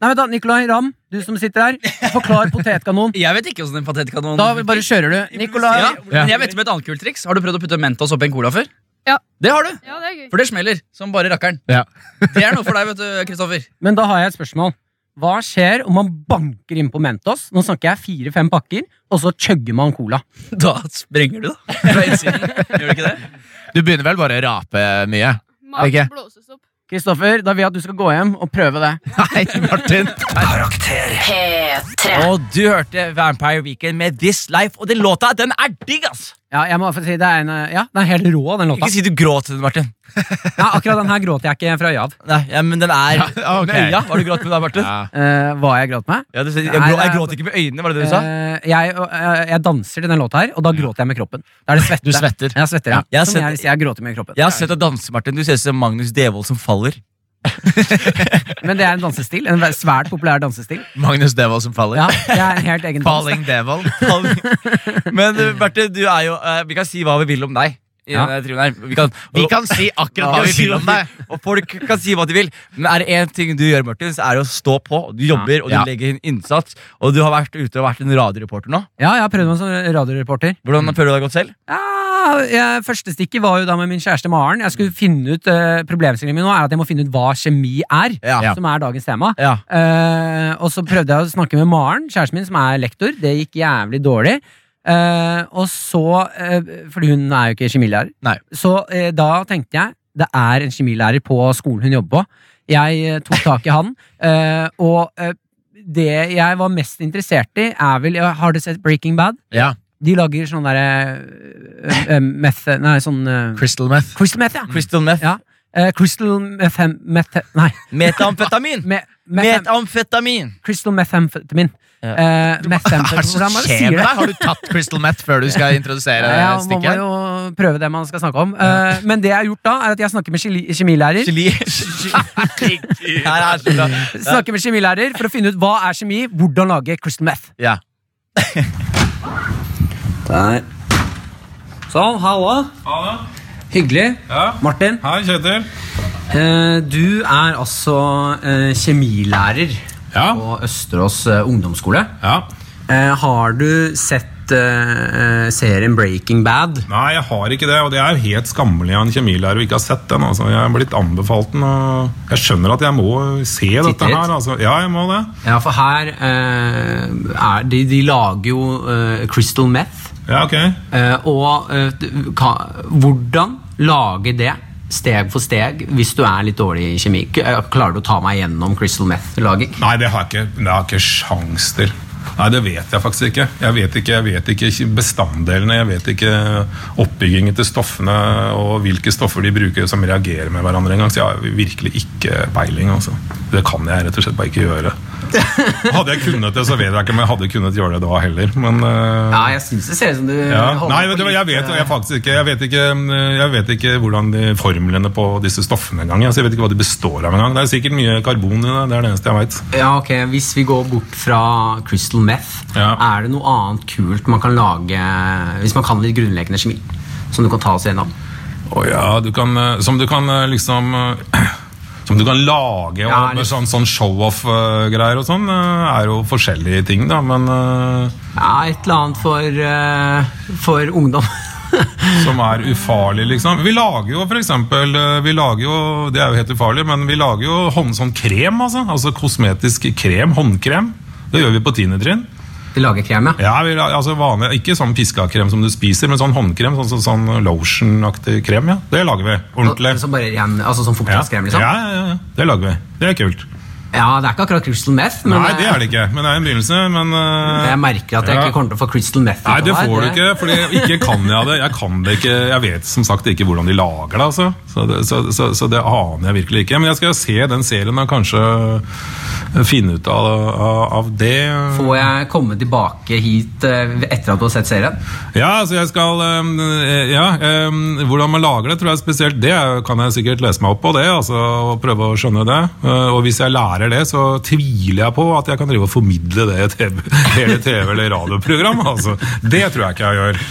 S4: Nei, vent da, Nikolai Ram, du som sitter her. Forklar potetkanon.
S8: Jeg vet ikke hvordan en patetkanon
S4: Da bare kjører du. Nikolai.
S8: ja,
S3: Ja.
S8: men Jeg vet om et annet kult triks. Har du prøvd å putte Mentos oppi en cola før?
S12: Ja.
S8: Det har du.
S12: Ja, det er gøy.
S8: For det smeller som bare rakkeren.
S3: Ja.
S8: Det er noe for deg, vet du, Kristoffer.
S4: Men da har jeg et spørsmål. Hva skjer om man banker inn på Mentos? Nå snakker jeg fire-fem pakker, og så chugger man cola.
S8: Da sprenger du, da. Fra innsiden. Gjør du ikke det?
S3: Du begynner vel bare å rape mye?
S12: Magen
S3: Ok.
S12: blåses opp.
S4: Kristoffer, da vil jeg at du skal gå hjem og prøve det.
S3: Nei, Martin!
S1: Karakter
S11: P3.
S2: Og du hørte Vampire Weekend med This Life, og den låta den er digg, ass!
S4: Ja, jeg må i hvert fall si det er en, ja, den er helt rå, den låta.
S2: Ikke si du gråt til den, Martin.
S4: Ja, akkurat den her gråter jeg ikke fra øya av.
S2: Nei, ja, men den er
S3: Ja, ok.
S2: med øya. Har du grått med den, Martin?
S3: Ja.
S4: Eh, hva jeg gråt med?
S2: Ja, du, sier, jeg,
S4: Nei,
S2: grå,
S4: det
S2: jeg
S4: er-
S2: gråt ikke med øynene, var det det du sa?
S4: Eh, jeg, eh, jeg danser til den låta her, og da gråter jeg med kroppen. Da er det svette.
S3: Du svetter.
S4: Jeg svetter, ja.
S2: Jeg har
S4: Som
S2: sett-
S4: jeg, hvis jeg gråter med kroppen.
S2: Jeg har sett deg danse, Martin. Du ser ut som Magnus Devold som faller.
S4: Men det er en dansestil. En svært populær dansestil.
S3: Magnus Devold som faller.
S4: Ja, det er en helt egen dans.
S3: Falling Devold.
S2: Men eh, Berte, du er jo eh, Vi kan si hva vi vil om deg. i denne trioen her. Vi kan,
S3: Vi kan si akkurat hva vi vil om deg.
S2: Og folk kan si hva de vil. Men er det én ting du gjør, Martin, så er det å stå på. Du jobber, og du
S3: Ja.
S2: legger inn innsats. Og du har vært ute og vært en radioreporter nå.
S4: Ja, jeg har prøvd meg som radioreporter.
S2: Hvordan føler du deg godt selv?
S4: Ja, jeg, første stikket var jo da med min kjæreste Maren. Jeg skulle finne ut uh, Problemstillingen min nå er at jeg må finne ut hva kjemi er,
S2: Ja.
S4: som er dagens tema.
S2: Ja.
S4: Eh, og så prøvde jeg å snakke med Maren, kjæresten min, som er lektor. Det gikk jævlig dårlig. Eh, og så eh, Fordi hun er jo ikke kjemilærer. Så eh, da tenkte jeg det er en kjemilærer på skolen hun jobber på. Jeg eh, tok tak i han, eh, og eh, det jeg var mest interessert i, er vel Har du sett Breaking Bad?
S3: Ja.
S4: De lager sånn derre uh, meth Nei, sånn eh,
S3: Crystal meth.
S4: Crystal meth, ja.
S3: Mm.
S2: Crystal meth.
S4: ja. Eh, crystal methem... Meth, nei.
S2: Metamfetamin! Metamfetamin!
S4: Crystal Eh, methamfetamin. Ja.
S3: Hva er det som skjer med deg? Eh, Har du tatt Crystal Meth før du skal introdusere
S4: ja, Man må
S3: stikket?
S4: jo prøve det man skal snakke om. Eh, men det jeg har gjort da, er at jeg snakker med kjeli- kjemilærer. snakker med kjemilærer for å finne ut hva er kjemi, hvordan lage crystal meth.
S3: Ja.
S4: Der. Sånn, hallo. Hyggelig. Martin.
S14: Hei, Kjetil.
S4: Eh, du er altså eh, kjemilærer på Østerås eh, ungdomsskole. Eh, har du sett eh, eh, serien Breaking Bad?
S14: Nei, jeg har ikke det, og det er helt skammelig av en kjemilærer å ikke ha sett den. Altså. Jeg er blitt anbefalt den, og jeg skjønner at jeg må se
S4: Titte
S14: dette
S4: litt.
S14: her. Altså. Ja, jeg må det.
S4: Ja, for her eh, er de, de lager jo eh, crystal meth.
S14: Ja, ok.
S4: Eh, og eh, du kan, hvordan lage det steg for steg hvis du er litt dårlig i kjemi? K- eh, Klarer du å ta meg gjennom crystal meth-laging?
S14: Nei, det har jeg ikke, det har jeg ikke sjans til. Nei, det vet jeg faktisk ikke. Jeg vet ikke, jeg vet ikke bestanddelene, jeg vet ikke oppbyggingen til stoffene, og hvilke stoffer de bruker som reagerer med hverandre engang. Så jeg har virkelig ikke peiling, altså. Det kan jeg rett og slett bare ikke gjøre. Hadde jeg kunnet det, så vet jeg ikke om jeg hadde kunnet gjøre det da heller, men eh,
S4: Ja, jeg syns det ser ut som du
S14: ja.
S4: holder
S14: Nei,
S4: Eh, på
S14: vet du, hva,
S4: litt,
S14: jeg vet
S4: eh,
S14: jeg faktisk ikke Jeg vet ikke, um, jeg vet ikke hvordan de formlene på disse stoffene engang. Altså, jeg vet ikke hva de består av engang. Det er sikkert mye karbon i det. Det er det eneste jeg veit.
S4: Ja, ok, Hvis vi går bort fra crystal meth, er det noe annet kult man kan lage hvis man kan litt grunnleggende kjemi? Som du kan ta oss gjennom?
S14: Å ja, du kan, eh, som du kan eh, liksom eh, Som du kan lage og,
S4: Ja,
S14: med
S4: litt-
S14: sånn, sånn show-off-greier og sånn, eh, er jo forskjellige ting, da, men eh,
S4: Ja, et eller annet for, eh, for ungdom.
S14: som er ufarlig, liksom. Vi lager jo for eksempel eh, vi lager jo, Det er jo helt ufarlig, men vi lager jo hånd, sånn krem, altså. Altså kosmetisk krem. Håndkrem. Det gjør vi på tiende trinn.
S4: Vi lager krem, ja?
S14: ja vi, la- altså vanlig, ikke sånn piskakrem som du spiser, men sånn håndkrem. Sånn, sånn, sånn lotion-aktig krem, ja. Det lager vi. Ordentlig.
S4: Så bare ren, altså sånn fuktighetskrem, liksom?
S14: Ja, ja, ja, ja. Det lager vi. Det er kult.
S4: Ja, det er ikke akkurat crystal meth, men eh,
S14: Nei, det er det ikke. Men det er en begynnelse. Men, eh,
S4: Jeg merker at jeg
S14: ja.
S4: ikke kommer til å få crystal meth. ut
S14: Nei,
S4: av
S14: det får du
S4: her.
S14: ikke, for ikke kan jeg det. Jeg kan det ikke, jeg vet som sagt ikke hvordan de lager det, altså. Så det, så, så, så det aner jeg virkelig ikke. Men jeg skal se den serien og kanskje finne ut av, av, av det.
S4: Får jeg komme tilbake hit eh, etter at du har sett serien?
S14: Ja, altså jeg skal ehm, eh, Ja, ehm, hvordan man lager det, tror jeg spesielt det er- kan jeg sikkert lese meg opp på det, altså, og prøve å skjønne det. Eh, Og hvis jeg lærer det, så tviler jeg på at jeg kan drive og formidle det i et TV, hele TV- eller radioprogram. Altså, det tror jeg ikke jeg gjør.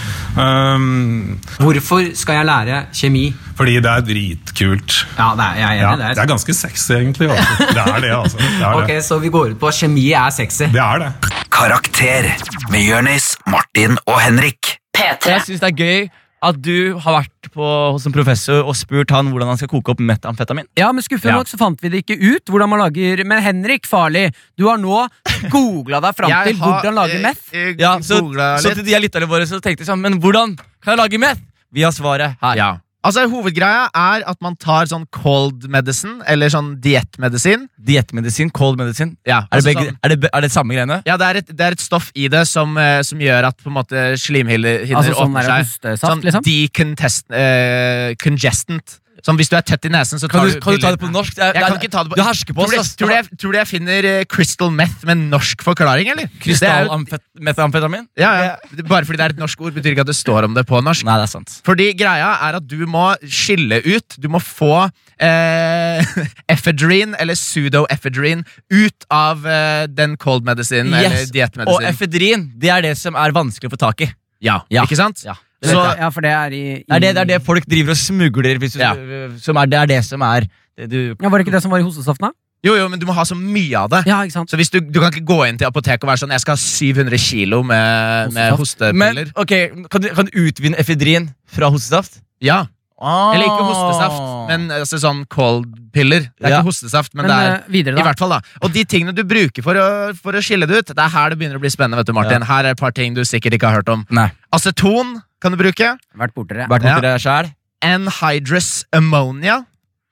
S14: Ehm,
S4: Hvorfor skal jeg lære kjemi?
S14: Fordi det er dritkult.
S4: Ja, det er, jeg er enig,
S14: Ja,
S4: det er-
S14: det er ganske sexy, egentlig. Altså. Det er det, altså. Det er
S4: Ok,
S14: det.
S4: Så vi går ut på at kjemi er sexy?
S14: Det er det.
S1: Karakter med Jonis, Martin og Henrik.
S2: Jeg syns det er gøy at du har vært på, hos en professor og spurt han hvordan han skal koke opp metamfetamin.
S4: Ja, men skuffende
S2: Ja.
S4: nok så fant vi det ikke ut hvordan man lager Men Henrik Farli, du har nå googla deg fram
S2: Jeg
S4: til
S2: har, eh,
S4: hvordan lage
S3: Eh,
S4: meth.
S2: Ja, så, så til de her lytterne våre så tenkte jeg sånn, men hvordan kan jeg lage meth? Vi har svaret her.
S3: Altså, Hovedgreia er at man tar sånn cold medicine, eller sånn diettmedisin.
S2: Diettmedisin, cold medicine.
S3: Ja,
S2: Er
S3: altså
S2: det, begge,
S3: sånn-
S2: er, det, er det samme greiene?
S3: Ja, det er, et, det er et stoff i det som, eh, som gjør at på en måte slimhinner
S2: Altså, sånn
S3: åpner seg.
S2: der hostesaft,
S3: sånn
S2: liksom?
S3: decongestant. Eh, congestant. Sånn, hvis du er tett i nesen, så tar
S2: Kan du, kan du ta det på norsk? Det
S3: Jeg
S2: er- det er-
S3: kan ikke ta det på
S2: Du hersker på
S3: tror,
S2: oss.
S3: du, tror, du jeg, tror du jeg finner eh, crystal meth med norsk forklaring, eller? Det er jo-
S2: Krystallamfetamin?
S3: ja, ja. Bare fordi det er et norsk ord, betyr ikke at det står om det på norsk.
S2: Nei, det er sant
S3: Fordi greia er at du må skille ut. Du må få eh, ephedrine, eller pseudoephedrine, ut av eh, den cold medicine eller
S2: Yes. Og
S3: diettmedisin.
S2: efedrin det er det som er vanskelig å få tak i.
S3: Ja, ikke sant?
S4: Det vet jeg, ja, for det er i, i
S2: Det er det, det er det folk driver og smugler. Hvis du, som er, det er det som er det du
S15: Ja, Var det ikke det som var i hostesaften? da?
S3: Jo, jo, men du må ha så mye av det. Så hvis du, du kan ikke gå inn til apoteket og være sånn Jeg skal ha 700 kilo med, med
S2: Men
S3: hostepiller.
S2: ok, kan du, kan du utvinne efedrin fra hostestaft?
S3: Ja.
S2: Ah.
S3: Eller ikke hostesaft, men altså, sånn cold-piller. Det er
S2: Ja.
S3: ikke hostesaft, men,
S2: Men,
S3: det
S2: eh,
S3: er
S2: videre, da?
S3: i hvert fall da Og de tingene du bruker for å, for å skille det ut, det er her det begynner å bli spennende. vet du, Martin
S2: Ja.
S3: Her er et par ting du sikkert ikke har hørt om. Aceton kan du bruke.
S4: Vært borti det.
S2: Vært borti det selv.
S3: Anhydrous ammonia.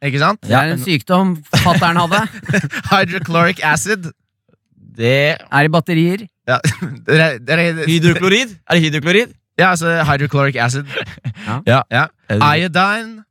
S3: Ikke sant?
S4: Det er en sykdom fatter'n hadde.
S3: Hydrochloric acid.
S2: Det
S4: er i batterier.
S3: Ja, dere- dere-
S2: Hydroklorid? Er det hydroklorid?
S3: Ja, altså hydrochloric acid.
S2: Ja.
S3: ja. Iodine.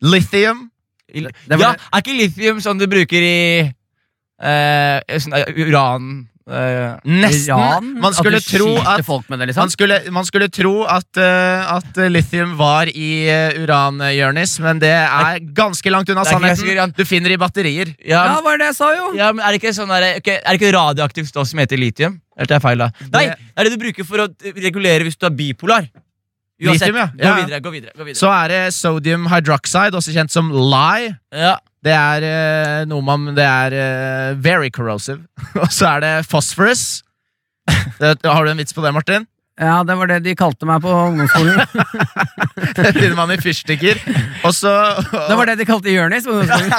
S3: Lithium.
S2: ja, er ikke lithium sånn du bruker i eh, sånn, eh, uran eh,
S3: Nesten. man, skulle tro at,
S2: liksom?
S3: man, skulle, man skulle tro at, eh, at lithium var i uh, uran-Jonis, men det er ganske langt unna
S2: Det er ikke ganske
S3: sannheten. Du finner det i batterier.
S2: Ja,
S15: var det jeg sa, jo!
S2: Ja, men Er det ikke sånn der, ok, er det ikke radioaktivt stoff som heter litium? Eller tar jeg feil da? Nei, det er det du bruker for å eh, regulere hvis du er bipolar. Uansett,
S3: Lithium, ja.
S2: Gå
S3: Ja.
S2: videre, gå videre, gå videre.
S3: Så er det sodium hydroxide, også kjent som lye. Det er eh, noe man Det er eh, very corrosive. Og så er det phosphorus. Det, har du en vits på det, Martin?
S4: Ja, det var det de kalte meg på ungdomsskolen.
S3: Det finner man i fyrstikker. Og så
S4: Det var det de kalte Jonis på ungdomsskolen.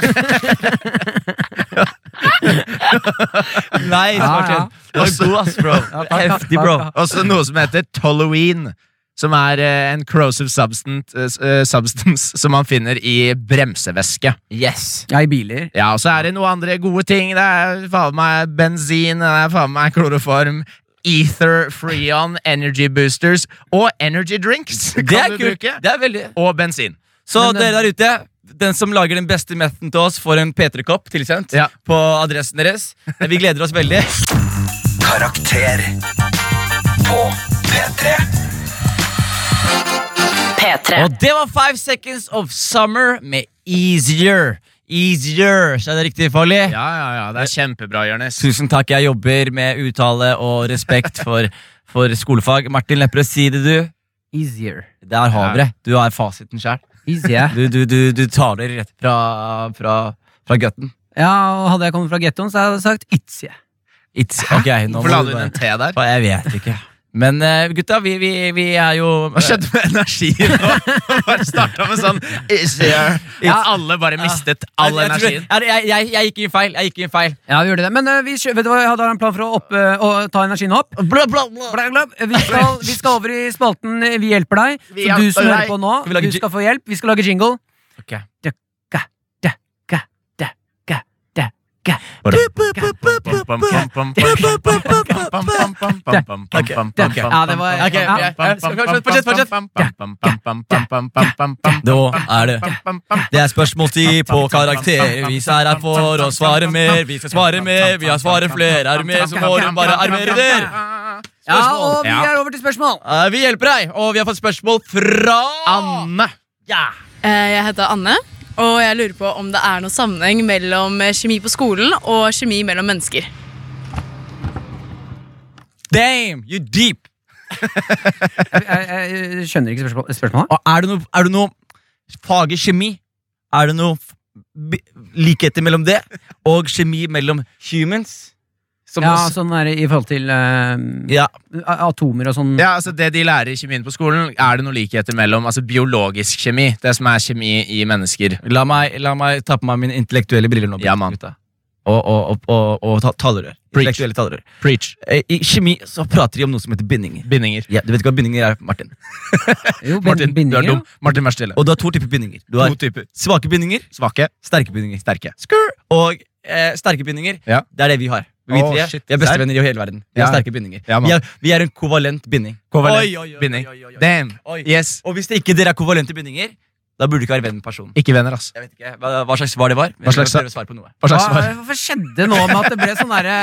S2: Nei,
S3: Ah,
S2: Martin. Du er god, ass, bro. Heftig, bro.
S3: Og så noe som heter toluene. Som er eh, en corrosive substance, eh, substance som man finner i bremsevæske.
S2: Yes.
S4: Ja, i biler.
S3: Ja, og så er det noen andre gode ting. Det er faen meg bensin, det er faen meg kloroform. Ether, Freon, Energy Boosters og Energy Drinks kan
S2: Det er
S3: du
S2: kult.
S3: bruke.
S2: Det er veldig
S3: Og bensin.
S2: Så
S3: Men, eh,
S2: dere der ute, den som lager den beste methen til oss, får en P3-kopp tilsendt på adressen deres. Vi gleder oss veldig.
S1: Karakter på P3.
S16: P3.
S2: Og det var Five Seconds of Summer med Easier. Easier, så er det riktig, Folly?
S3: Ja, ja, ja, det er kjempebra, Jørnes.
S2: Tusen takk, jeg jobber med uttale og respekt for, for skolefag. Martin Lepperød, si det, du.
S4: Easier.
S2: Der har vi det. Du er fasiten sjæl.
S4: Easier.
S2: Du, du, du, du tar det rett fra, fra, fra gutten.
S4: Ja, og hadde jeg kommet fra gettoen, så hadde jeg sagt Itzie.
S2: It's, ok, nå
S3: Hvorfor la
S2: må
S3: du
S2: du
S3: inn en
S2: bare...
S3: T der?
S2: Jeg vet ikke. Men eh, gutta, vi, vi, vi er jo
S3: Hva skjedde med energien nå? Bare starta med sånn Ah, easier. Ja, alle bare mistet all
S2: Jeg- jeg tror-
S3: energien.
S2: Jeg, jeg, jeg, jeg gikk inn feil. Jeg gikk inn feil.
S4: Ja, vi gjorde det. Men eh, vi, kjø- vet du hva, jeg hadde en plan for å, opp, eh, å ta energien opp.
S2: Bla, bla, bla.
S4: Vi, skal, vi skal over i spalten eh, Vi hjelper deg.
S2: Vi
S4: så du
S2: hjelper
S4: som hører
S2: deg.
S4: på nå,
S2: Skal vi
S4: du
S2: lage ji-
S4: skal få hjelp. Vi skal lage jingle.
S2: Ok.
S4: Døkka, døkka, døkka, døkka. Ja, det var
S2: Ok,
S4: ja.
S2: ok. Fortsett, fortsett. Da er det Det er spørsmålstid på karakter. Vi er her for å svare mer. Vi skal svare mer. Vi har svaret flere. Er du med, så må du bare armere der.
S4: ja, og vi
S2: Ja.
S4: er over til spørsmål.
S2: Eh, Vi hjelper deg, og vi har fått spørsmål fra Anne. Ja.
S17: Eh, Jeg heter Anne, og jeg lurer på om det er noen sammenheng mellom eh, kjemi på skolen og kjemi mellom mennesker.
S2: Damn, you deep.
S4: Jeg, jeg, jeg skjønner ikke spørsmål- spørsmålet.
S2: Og er det noe, er det noe fag i kjemi? Er det noe f- bi- likheter mellom det og kjemi mellom humans? Som
S4: Ja,
S2: oss-
S4: sånn er det i forhold til eh, atomer og sånn.
S3: Ja, altså Det de lærer i kjemien på skolen, er det noen likheter mellom altså biologisk kjemi? Det som er kjemi i mennesker.
S2: La meg, la meg ta på meg mine intellektuelle briller nå. Ja, gutta. Og, og, og, og, og ta- talerør. Intellektuelle talerør.
S3: Preach.
S2: Eh, I kjemi så prater de om noe som heter bindinger.
S3: Bindinger.
S2: Ja, du vet ikke hva bindinger er, Martin.
S4: jo,
S3: Martin, du er dum. Martin, vær stille.
S2: Og du har to typer bindinger. Du har
S3: To typer.
S2: Svake bindinger.
S3: Svake.
S2: Sterke bindinger.
S3: Sterke.
S2: Skrr! Og eh, sterke bindinger,
S3: Ja.
S2: det er det vi har. Vi
S3: Åh,
S2: tre
S3: shit,
S2: vi er bestevenner i hele verden. Vi har
S3: Ja.
S2: sterke bindinger.
S3: Ja, man.
S2: vi, er, vi er en kovalent binding.
S3: Kovalent
S2: Oi, oi, oi,
S3: binding.
S2: Oi, oi, oi.
S3: Damn.
S2: Oi.
S3: Yes.
S2: Og hvis det ikke dere er kovalente bindinger, da burde du ikke være venn med personen.
S3: Ikke venner, ass.
S2: Jeg vet ikke hva, hva slags svar det var. men
S3: Hva slags
S2: jeg prøver å svare på noe.
S3: Hva slags
S4: Hva,
S3: svar?
S4: hva skjedde nå med at det ble sånn derre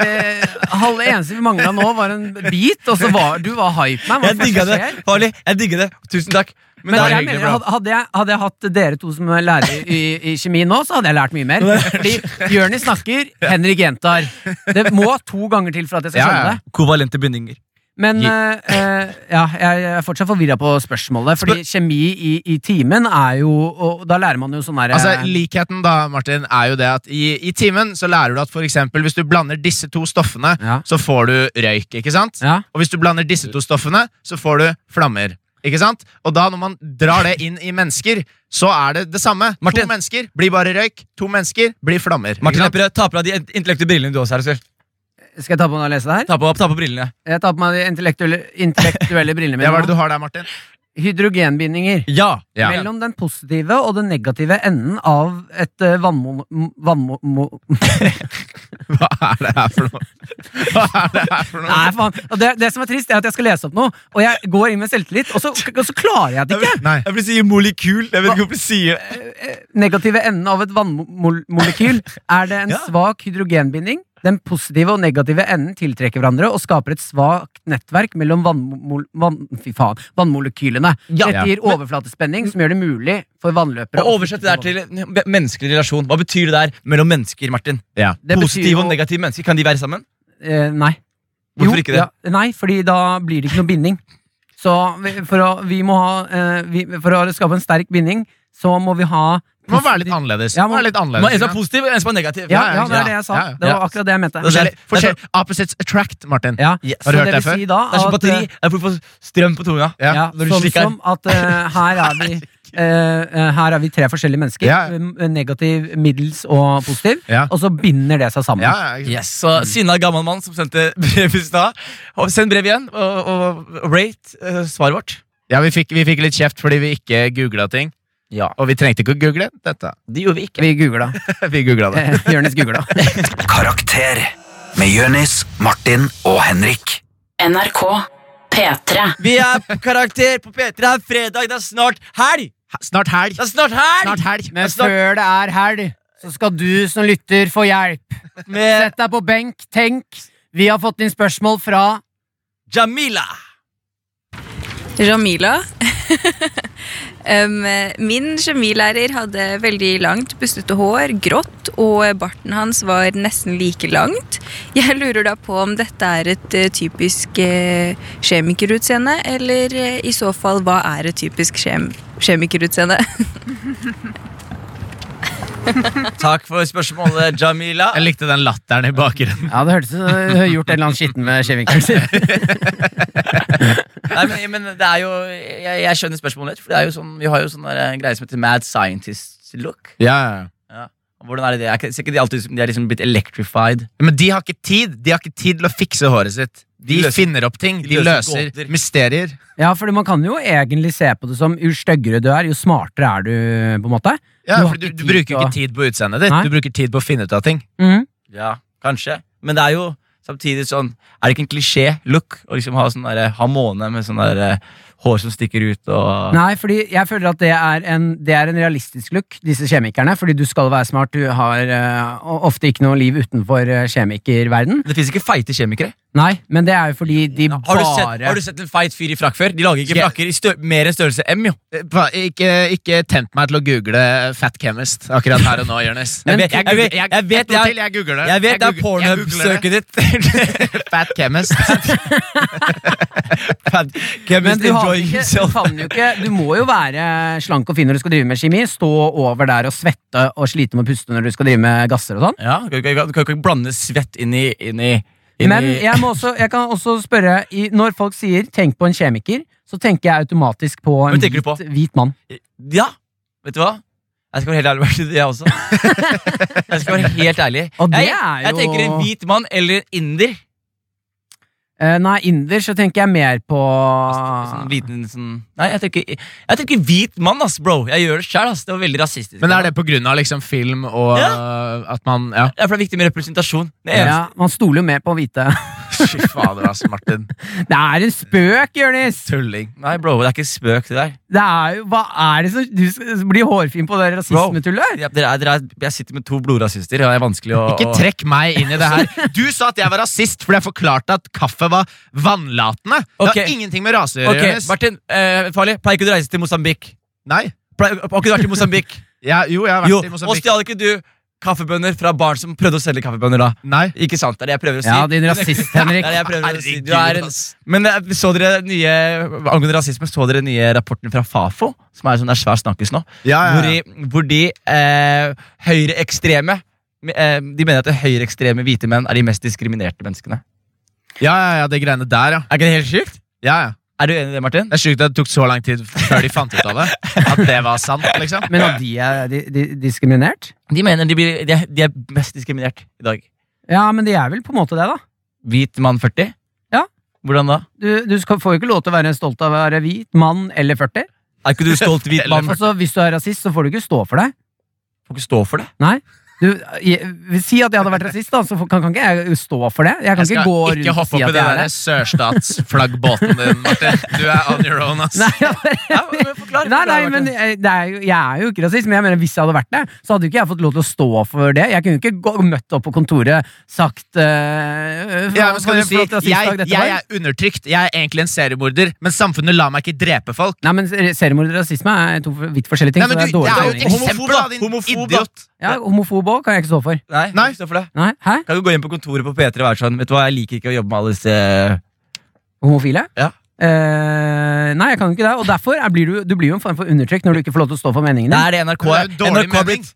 S4: eh, Halve eneste vi mangla nå, var en bit, og så var du var hype man. Hva
S2: Jeg
S4: faen
S2: digga det.
S4: skjer?
S2: Farlig. Jeg digger det. Tusen takk.
S4: Men
S2: Men det er
S4: jeg
S2: hyggelig,
S4: mener,
S2: bro.
S4: hadde- hadde, jeg, hadde jeg hatt dere to som lærere i, i kjemi nå, så hadde jeg lært mye mer. Fordi Jørnis snakker, Henrik gjentar. Det må to ganger til for at jeg skal skjønne det.
S2: Kovalente bindinger.
S4: Men eh, eh, ja, jeg er fortsatt forvirra på spørsmålet. Fordi kjemi i, i timen er jo og Da lærer man jo sånn derre
S3: Altså, Likheten da, Martin, er jo det at i, i timen så lærer du at for eksempel, hvis du blander disse to stoffene, så får du røyk. ikke sant? Og hvis du blander disse to stoffene, så får du flammer. Ikke sant? Og da når man drar det inn i mennesker, så er det det samme. To mennesker blir bare røyk. To mennesker blir flammer.
S2: Martin, jeg prøver å ta på deg de intellektuelle brillene du også har.
S4: Skal jeg ta på meg og lese det her?
S2: Ta på, ta på brillene.
S4: Jeg tar på meg de intellektuelle, intellektuelle brillene mine.
S3: Ja, hva er det
S4: nå.
S3: du har der, Martin?
S4: Hydrogenbindinger.
S2: Ja,
S3: ja.
S4: Mellom den positive og den negative enden av et eh, vannmo... m- vannmo... mo-
S3: Hva er det her for noe? Hva er det her for noe?
S4: Nei, faen. Og det, det som er trist, er at jeg skal lese opp noe, og jeg går inn med selvtillit, og så, og så klarer jeg det ikke! Eh,
S2: Jeg vil si molekyl. Jeg vet ikke hvorfor jeg sier
S4: negative enden av et vannmolekyl er det en svak hydrogenbinding. Den positive og negative enden tiltrekker hverandre og skaper et svakt nettverk mellom vannmol vann, fy faen, vannmolekylene.
S2: Ja.
S4: Dette gir overflatespenning som gjør det mulig for vannløpere
S2: Og oversett det der til en menneskelig relasjon. Hva betyr det der mellom mennesker, Martin?
S4: Det betyr
S2: Positive
S4: jo-
S2: og negative mennesker, kan de være sammen?
S4: Eh, nei.
S2: Hvorfor ikke det?
S4: Ja, nei, fordi da blir det ikke noe binding. Så vi- for å, vi må ha, eh, vi, for å skape en sterk binding, så må vi ha
S3: Det må være litt annerledes.
S4: Ja,
S3: Det må være litt annerledes,
S2: Man, en som
S3: ikke
S2: er
S3: sant?
S2: positiv, en som er negativ.
S4: Ja, ja, det er det jeg sa. Det var akkurat det jeg mente.
S3: Forskjell- forskjell- Opposites attract, Martin.
S4: så
S3: Har du hørt
S4: det
S3: det,
S4: vil
S3: før?
S4: si da
S2: Det er som
S4: at,
S2: batteri.
S4: eh,
S2: Det er for å få strøm på tunga.
S4: Ja,
S2: når du
S4: sånn
S2: slikker.
S4: som at eh, her, er vi, eh, eh, her er vi tre forskjellige mennesker.
S2: Ja.
S4: eh, Negativ, middels og positiv. Og så binder det seg sammen.
S2: Yes, så Sinna gammel mann som sendte brev i stad. Og Send brev igjen, og, og, og rate eh, svaret vårt.
S3: Ja, vi fikk, vi fikk litt kjeft fordi vi ikke googla ting. Og vi trengte ikke å google dette.
S18: Det gjorde vi ikke.
S4: Vi googla.
S3: vi googla det.
S4: Jonis googla.
S1: Karakter med Jonis, Martin og Henrik.
S19: NRK P3.
S2: Vi er på karakter på P3. Det er fredag, det er snart helg!
S3: Snart helg.
S2: Det er snart helg!
S4: Men
S2: snart-
S4: før det er helg, så skal du som lytter få hjelp. Sett deg på benk, tenk. Vi har fått inn spørsmål fra
S2: Jamila.
S20: Jamila. Em, min kjemilærer hadde veldig langt, bustete hår, grått, og barten hans var nesten like langt. Jeg lurer da på om dette er et eh, typisk eh, kjemikerutseende, eller eh, i så fall hva er et typisk kjem kjemikerutseende?
S2: Takk for spørsmålet, Jamila.
S3: Jeg likte den latteren i bakgrunnen.
S4: Ja, det hørtes ut som du har gjort en eller annen skitten med kjemikeren.
S2: Nei, men, men det er jo jeg, jeg skjønner spørsmålet ditt. For det er jo sånn, vi har jo sånn der, eh, greie som heter mad scientist look. Ja. Og Hvordan er det det? Er ikke, ser ikke de alltid ut som de er liksom blitt electrified?
S3: Men de har ikke tid De har ikke tid til å fikse håret sitt. De,
S2: De løser-
S3: finner opp ting.
S2: de
S3: De
S2: løser
S3: løser, mysterier.
S4: Ja, fordi man kan jo egentlig se på det som jo styggere du er, jo smartere er du, på en måte.
S3: Ja,
S4: har
S3: for du,
S4: ikke
S3: du
S4: tid
S3: bruker
S4: til
S3: jo
S4: å-
S3: ikke tid på utseendet ditt.
S4: Nei.
S3: Du bruker tid på å finne ut av ting.
S4: Mhm.
S2: Ja, kanskje. Men det er jo samtidig sånn Er det ikke en klisjé-look å liksom ha sånn der, ha måne med sånn der, eh, hår som stikker ut og
S4: Nei, fordi jeg føler at det er en, det er en realistisk look, disse kjemikerne. Fordi du skal være smart. Du har eh, o- ofte ikke noe liv utenfor eh, kjemikerverden.
S2: Det fins ikke feite kjemikere.
S4: Nei, men det er jo fordi de
S2: Har du,
S4: bare
S2: sett, har du sett en feit fyr i frakk før? De lager ikke frakker i stør mer enn størrelse M, jo.
S3: Eh, Ikke, ikke tempt meg til å google eh, Fat Chemist akkurat her og nå, Jonis.
S2: Jeg vet- jeg vet- jeg vet-
S3: Et ord
S2: jeg-
S3: til, jeg googler det.
S2: jeg vet det er
S3: goog- jeg googler
S2: Pornhub-søket ditt.
S3: Fat Chemist.
S4: Men
S2: Chemist
S4: du, har
S2: enjoying
S4: ikke, du,
S2: himself.
S4: kan jo ikke, du må jo være slank og fin når du skal drive med kjemi. Stå over der og svette og slite med å puste når du skal drive med gasser og sånn.
S2: Ja, du kan ikke- du kan ikke blande svett inn i, inn i, inn
S4: Men
S2: i
S4: jeg, må også, jeg kan også spørre i, Når folk sier 'tenk på en kjemiker', så tenker jeg automatisk på en
S2: Hvem tenker du
S4: hvit,
S2: på?
S4: hvit mann.
S2: Ja, vet du hva? Jeg skal være helt ærlig med deg, jeg også. Jeg skal være helt ærlig.
S4: Og det
S2: jeg,
S4: er
S2: jeg
S4: jo-
S2: tenker en hvit mann eller en inder.
S4: Eh, nei, inder, så tenker jeg mer på Ah.
S2: Sånn liten, sånn... Nei, jeg tenker, jeg tenker hvit mann, ass, bro. Jeg gjør det sjæl, ass. Det var veldig rasistisk.
S3: Men er det på grunn av liksom film og uh, at man Ja.
S2: Det er for det er viktig med representasjon. Det eneste.
S4: ja, Man stoler jo mer på hvite.
S3: Fy fader, ass, Martin.
S4: det er en spøk, Jonis!
S3: Tulling.
S2: Nei, bro, det er ikke spøk, det der.
S4: Det er jo, hva er det som Du s- blir hårfin på det rasismetullet?
S2: Ja, dere er, dere er, jeg sitter med to blodrasister, og det er vanskelig å
S3: Ikke
S2: å-
S3: trekk meg inn i det her. Du sa at jeg var rasist fordi jeg forklarte at kaffe var vannlatende. Det
S2: Ok.
S3: har ingenting med rase å gjøre.
S2: Ok,
S3: Jonas.
S2: Martin, eh, farlig. Pleier ikke du å reise til Mosambik?
S3: Nei.
S2: Pleier, har ikke du vært i Mosambik?
S3: Ja, jo, jeg har vært i
S2: Og
S3: Mosambik.
S2: stjal ikke du kaffebønner fra barn som prøvde å selge kaffebønner da.
S3: Nei.
S2: Ikke sant? Det er det jeg prøver å si.
S4: Ja, din rasist, Henrik.
S2: Det er det jeg prøver å si. Du
S3: Herregud,
S2: er en, men eh, så dere nye, angående rasisme, så dere nye rapporten fra Fafo, som er sånn der svær snakkes nå,
S3: Ja, ja, ja.
S2: hvor de, hvor de eh, høyreekstreme eh, De mener at det høyreekstreme hvite menn er de mest diskriminerte menneskene.
S3: Ja, ja, ja, det greiene der, ja.
S2: Er ikke det helt sjukt?
S3: Ja, ja.
S2: Er du enig i det, Martin?
S3: Det er sjukt at det tok så lang tid før de fant ut av det. At det var sant, liksom.
S4: Men at de er di- di- diskriminert?
S2: De mener de, blir, de, er, de er mest diskriminert i dag.
S4: Ja, men de er vel på en måte det, da.
S2: Hvit mann 40?
S4: Ja.
S2: Hvordan da?
S4: Du, du skal, får jo ikke lov til å være stolt av å være hvit mann eller 40.
S2: Er ikke du stolt hvit mann?
S4: Altså, hvis du er rasist, så får du ikke stå for deg.
S2: Får ikke stå for det?
S4: Nei. Du, jeg, si at jeg hadde vært rasist, da, så kan, kan ikke jeg stå for det. Jeg kan ikke gå rundt og si at jeg er det.
S3: sørstatsflaggbåten din, Martin. Du er on your own, ass.
S4: Nei, nei, men eh, det er jo, jeg er jo ikke rasist, men jeg mener hvis jeg hadde vært det, så hadde jo ikke jeg fått lov til å stå for det. Jeg kunne jo ikke gå, møtt opp på kontoret sagt eh,
S3: Ja,
S4: hva
S3: men skal
S4: du
S3: du
S4: si
S3: få-
S4: at rasistdag
S3: jeg,
S4: dette
S3: jeg
S4: var?
S3: er undertrykt. Jeg er egentlig en seriemorder, men samfunnet lar meg ikke drepe folk.
S4: Nei, men seriemord og rasisme er to vidt forskjellige ting.
S3: Nei, men
S4: så det
S3: du-
S4: er dårlig
S3: det er jo
S4: sammenligning.
S3: et eksempel, da, din Homofob, da. idiot.
S4: Ja, homofob òg kan jeg ikke stå for.
S2: Nei, Nei. Stå for det.
S4: Nei, hæ?
S2: Kan du gå inn på kontoret på P3 og være sånn Vet du hva, jeg liker ikke å jobbe med alle disse
S4: Homofile?
S2: Ja.
S4: Eh, nei, jeg kan jo ikke det. Og derfor er, blir du, du blir jo en form for undertrykt når du ikke får lov til å stå for meningen
S2: Det
S4: din.
S2: er det NRK er.
S4: jo dårlig
S2: NRK er blitt